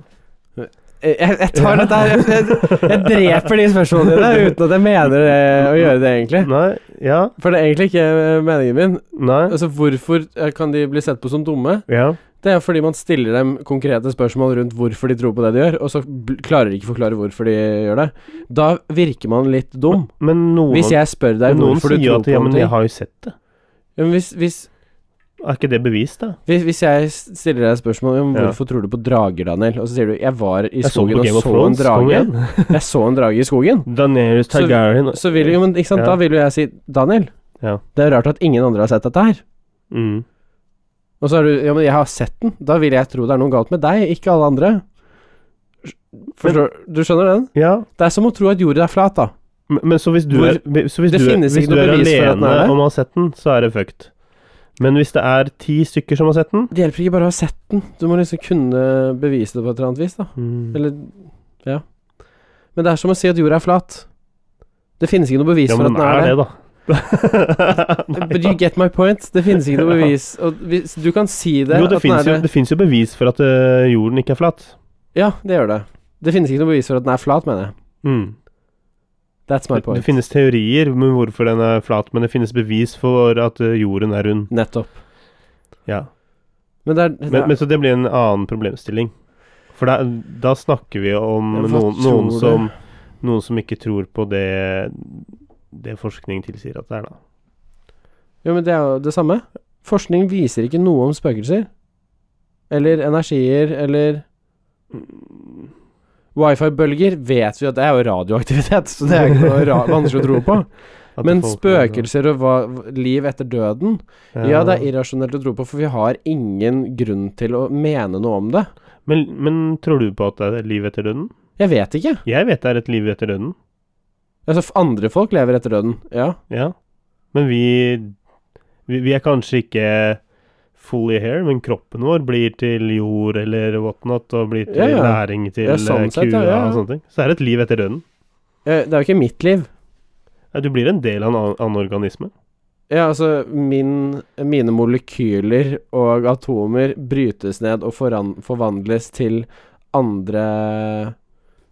Speaker 1: Jeg, jeg tar dette her jeg, jeg, jeg dreper de spørsmålene dine uten at jeg mener det, å gjøre det, egentlig.
Speaker 2: Nei, ja,
Speaker 1: For det er egentlig ikke eh, meningen min.
Speaker 2: nei,
Speaker 1: Altså, hvorfor eh, kan de bli sett på som dumme?
Speaker 2: ja.
Speaker 1: Det er fordi man stiller dem konkrete spørsmål rundt hvorfor de tror på det de gjør, og så bl- klarer de ikke forklare hvorfor de gjør det. Da virker man litt dum.
Speaker 2: Men noen,
Speaker 1: Hvis jeg spør
Speaker 2: men
Speaker 1: deg
Speaker 2: noen
Speaker 1: hvorfor du
Speaker 2: sier jo
Speaker 1: tror
Speaker 2: at
Speaker 1: på
Speaker 2: ja, men
Speaker 1: noe
Speaker 2: jeg har jo sett det.
Speaker 1: ja, men hvis, hvis,
Speaker 2: Er ikke det bevis, da?
Speaker 1: hvis, hvis jeg stiller deg spørsmål om
Speaker 2: Ja.
Speaker 1: hvorfor tror du på drager, Daniel, og så sier du 'jeg var i
Speaker 2: Jeg så
Speaker 1: skogen
Speaker 2: på Game
Speaker 1: og
Speaker 2: of
Speaker 1: så en
Speaker 2: Thrones. Kom
Speaker 1: drage',
Speaker 2: igjen.
Speaker 1: jeg så en drage i skogen,
Speaker 2: Daenerys
Speaker 1: Så-
Speaker 2: Targaryen
Speaker 1: så vil jo, men ikke sant, da
Speaker 2: Ja.
Speaker 1: vil jo jeg si 'Daniel,
Speaker 2: Ja.
Speaker 1: det er rart at ingen andre har sett dette her'.
Speaker 2: mm.
Speaker 1: Og så er du Ja, men jeg har sett den. Da vil jeg tro det er noe galt med deg, ikke alle andre. Forstår, du skjønner den?
Speaker 2: Ja,
Speaker 1: Det er som å tro at jorda er flat, da.
Speaker 2: men, men så hvis du
Speaker 1: Hvor-
Speaker 2: er, så hvis
Speaker 1: det
Speaker 2: du er,
Speaker 1: finnes
Speaker 2: hvis
Speaker 1: ikke
Speaker 2: du
Speaker 1: noe
Speaker 2: er
Speaker 1: bevis for at den er
Speaker 2: alene
Speaker 1: det.
Speaker 2: om å ha sett den, så er det fucked. Men hvis det er ti stykker som har sett den
Speaker 1: Det hjelper ikke bare å ha sett den. Du må liksom kunne bevise det på et eller annet vis, da. Mm. Eller Ja. Men det er som å si at jorda er flat. Det finnes ikke noe bevis
Speaker 2: Ja,
Speaker 1: for
Speaker 2: men
Speaker 1: at
Speaker 2: den
Speaker 1: den er det.
Speaker 2: da. Nei,
Speaker 1: But you get my point. Det finnes ikke noe bevis. Og hvis, du kan si det.
Speaker 2: jo, det
Speaker 1: at den
Speaker 2: fins jo,
Speaker 1: er
Speaker 2: det finnes jo bevis for at øh, jorden ikke er flat.
Speaker 1: Ja, det gjør det. Det finnes ikke noe bevis for at den er flat, mener jeg. That's my
Speaker 2: Mm. Det, det
Speaker 1: point.
Speaker 2: finnes teorier om hvorfor den er flat, men det finnes bevis for at øh, jorden er rund.
Speaker 1: Nettopp.
Speaker 2: Ja.
Speaker 1: Men det er det
Speaker 2: Men,
Speaker 1: er-
Speaker 2: men så det blir en annen problemstilling. For da, da snakker vi om
Speaker 1: Ja, hva
Speaker 2: noen,
Speaker 1: tror
Speaker 2: noen,
Speaker 1: du?
Speaker 2: som, noen som ikke tror på det, det forskning tilsier at det er, da.
Speaker 1: Jo, men det er jo det samme. Forskning viser ikke noe om spøkelser. Eller energier, eller Wifi-bølger vet vi at det er jo radioaktivitet, så det er jo ikke noe ra vanskelig å tro på.
Speaker 2: At
Speaker 1: Men
Speaker 2: folk-
Speaker 1: spøkelser og hva, liv etter døden, ja, det er irrasjonelt å tro på, for vi har ingen grunn til å mene noe om det.
Speaker 2: men, men tror du på at det er et liv etter døden?
Speaker 1: Jeg vet ikke.
Speaker 2: Jeg vet det er et liv etter døden,
Speaker 1: Altså, f- andre folk lever etter døden, ja.
Speaker 2: ja. Men vi, vi, vi er kanskje ikke fully here, men kroppen vår blir til jord eller whatnot, og blir til
Speaker 1: Ja, ja.
Speaker 2: næring til
Speaker 1: Ja,
Speaker 2: eh,
Speaker 1: sånn
Speaker 2: kua
Speaker 1: sett, ja, ja, ja.
Speaker 2: og sånne ting. Så er det et liv etter døden.
Speaker 1: Eh, Det er jo ikke mitt liv.
Speaker 2: Ja, du blir en del av en annen- annen organisme.
Speaker 1: Ja, altså min, mine molekyler og atomer brytes ned og foran, forvandles til andre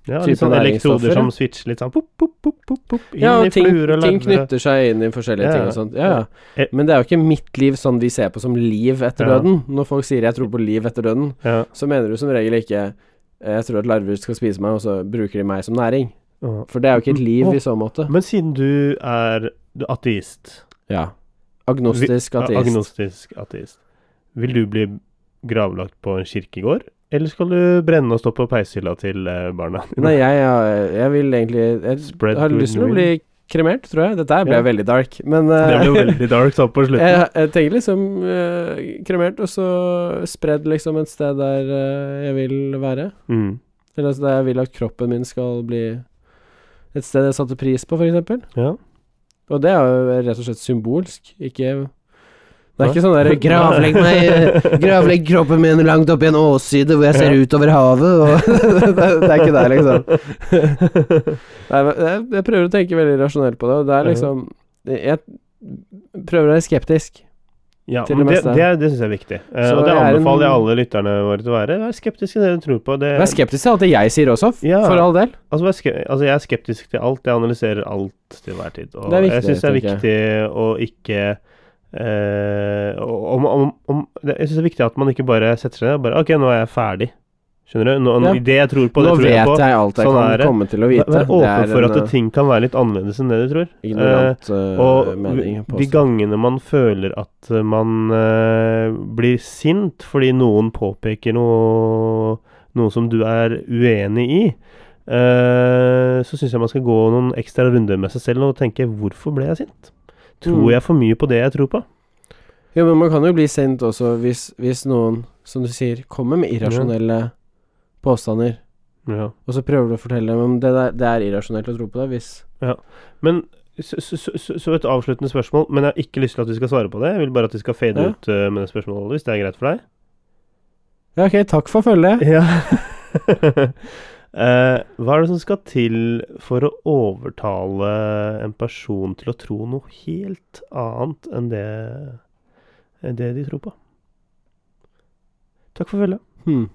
Speaker 2: Ja,
Speaker 1: type
Speaker 2: litt sånn elektroder
Speaker 1: næringsstoffer,
Speaker 2: som
Speaker 1: ja.
Speaker 2: switcher litt sånn pop, pop, pop, pop, pop, inn
Speaker 1: Ja,
Speaker 2: i
Speaker 1: og ting,
Speaker 2: fluer og
Speaker 1: ting
Speaker 2: larver.
Speaker 1: knytter seg inn i forskjellige
Speaker 2: Ja,
Speaker 1: ting
Speaker 2: ja.
Speaker 1: og sånt. Ja,
Speaker 2: Eh,
Speaker 1: ja. Men det er jo ikke mitt liv sånn vi ser på som liv etter
Speaker 2: Ja.
Speaker 1: døden. Når folk sier 'jeg tror på liv etter døden',
Speaker 2: Ja.
Speaker 1: så mener du som regel ikke eh, 'jeg tror at larver skal spise meg', og så bruker de meg som næring.
Speaker 2: Ja.
Speaker 1: For det er jo
Speaker 2: Mm.
Speaker 1: ikke et liv i så måte.
Speaker 2: Men siden du er du er ateist,
Speaker 1: Ja. Agnostisk
Speaker 2: vi-
Speaker 1: ateist.
Speaker 2: agnostisk ateist, vil du bli gravlagt på en kirkegård, eller skal du brenne og stå på peishylla til eh, barna dine?
Speaker 1: Nei, jeg, jeg, jeg vil egentlig Jeg
Speaker 2: Spread
Speaker 1: har
Speaker 2: good
Speaker 1: lyst til å
Speaker 2: news.
Speaker 1: bli kremert, tror jeg. Dette her ble
Speaker 2: Ja.
Speaker 1: veldig dark, men eh,
Speaker 2: Det ble jo veldig dark sånn på slutten.
Speaker 1: jeg, jeg tenker liksom eh, kremert, og så spredd liksom et sted der eh, jeg vil være.
Speaker 2: Mm.
Speaker 1: Eller altså der jeg vil at kroppen min skal bli et sted jeg satte pris på, f.eks.
Speaker 2: Ja.
Speaker 1: Og det er jo rett og slett symbolsk, ikke Det er
Speaker 2: Nei.
Speaker 1: ikke sånn derre
Speaker 2: Gravlegg meg- gravlegg
Speaker 1: eh, kroppen min langt opp i en åsside hvor jeg ser ut over havet' og det, er- det er ikke liksom. der, liksom. Nei, men jeg, jeg prøver å tenke veldig rasjonelt på det, og det
Speaker 2: Mhm.
Speaker 1: er liksom Jeg prøver å være skeptisk.
Speaker 2: Ja,
Speaker 1: Til det
Speaker 2: men det,
Speaker 1: meste.
Speaker 2: det, er- det syns jeg er viktig. Eh,
Speaker 1: Så
Speaker 2: og det
Speaker 1: jeg er en-
Speaker 2: anbefaler jeg alle lytterne våre til å være. Vær skeptisk til det du tror på. Det,
Speaker 1: Vær skeptisk til alt det jeg sier også, f-
Speaker 2: Ja.
Speaker 1: for all del.
Speaker 2: altså, vær ske, altså, jeg er skeptisk til alt. Jeg analyserer alt til hver tid. Og
Speaker 1: Det er viktig,
Speaker 2: jeg syns det er
Speaker 1: tenker jeg.
Speaker 2: viktig å ikke eh, og- om, om, om, det, Jeg syns det er viktig at man ikke bare setter seg ned og bare Ok, nå er jeg ferdig. Skjønner du? Nå,
Speaker 1: Ja.
Speaker 2: Det jeg tror på,
Speaker 1: Nå
Speaker 2: det tror
Speaker 1: vet
Speaker 2: jeg
Speaker 1: jeg,
Speaker 2: på.
Speaker 1: alt jeg
Speaker 2: Sånn er
Speaker 1: kan
Speaker 2: det.
Speaker 1: komme til å vite.
Speaker 2: Vær åpen
Speaker 1: Det er
Speaker 2: for at
Speaker 1: en, eh,
Speaker 2: ting kan være litt annerledes enn det du tror.
Speaker 1: Ignorant eh,
Speaker 2: Og
Speaker 1: mening.
Speaker 2: de
Speaker 1: påstå.
Speaker 2: gangene man føler at eh, man eh, blir sint fordi noen påpeker noe, noe som du er uenig i, eh, så syns jeg man skal gå noen ekstra runder med seg selv og tenke 'hvorfor ble jeg sint'? Tror
Speaker 1: Mm.
Speaker 2: jeg for mye på det jeg tror på?
Speaker 1: Jo, men man kan jo bli sint også hvis, hvis noen, som du sier, kommer med irrasjonelle påstander,
Speaker 2: Ja.
Speaker 1: og så prøver du å fortelle dem om det, der, det er irrasjonelt å tro på det, hvis
Speaker 2: Men så, så, så- så, så et avsluttende spørsmål, men jeg har ikke lyst til at vi skal svare på det. Jeg vil bare at vi skal fade
Speaker 1: Ja.
Speaker 2: ut eh, med det spørsmålet, hvis det er greit for deg?
Speaker 1: Ja, ok, takk for følget.
Speaker 2: Ja. Eh, hva er det som skal til for å overtale en person til å tro noe helt annet enn det, enn det de tror på? Takk for følget.
Speaker 1: Hmm.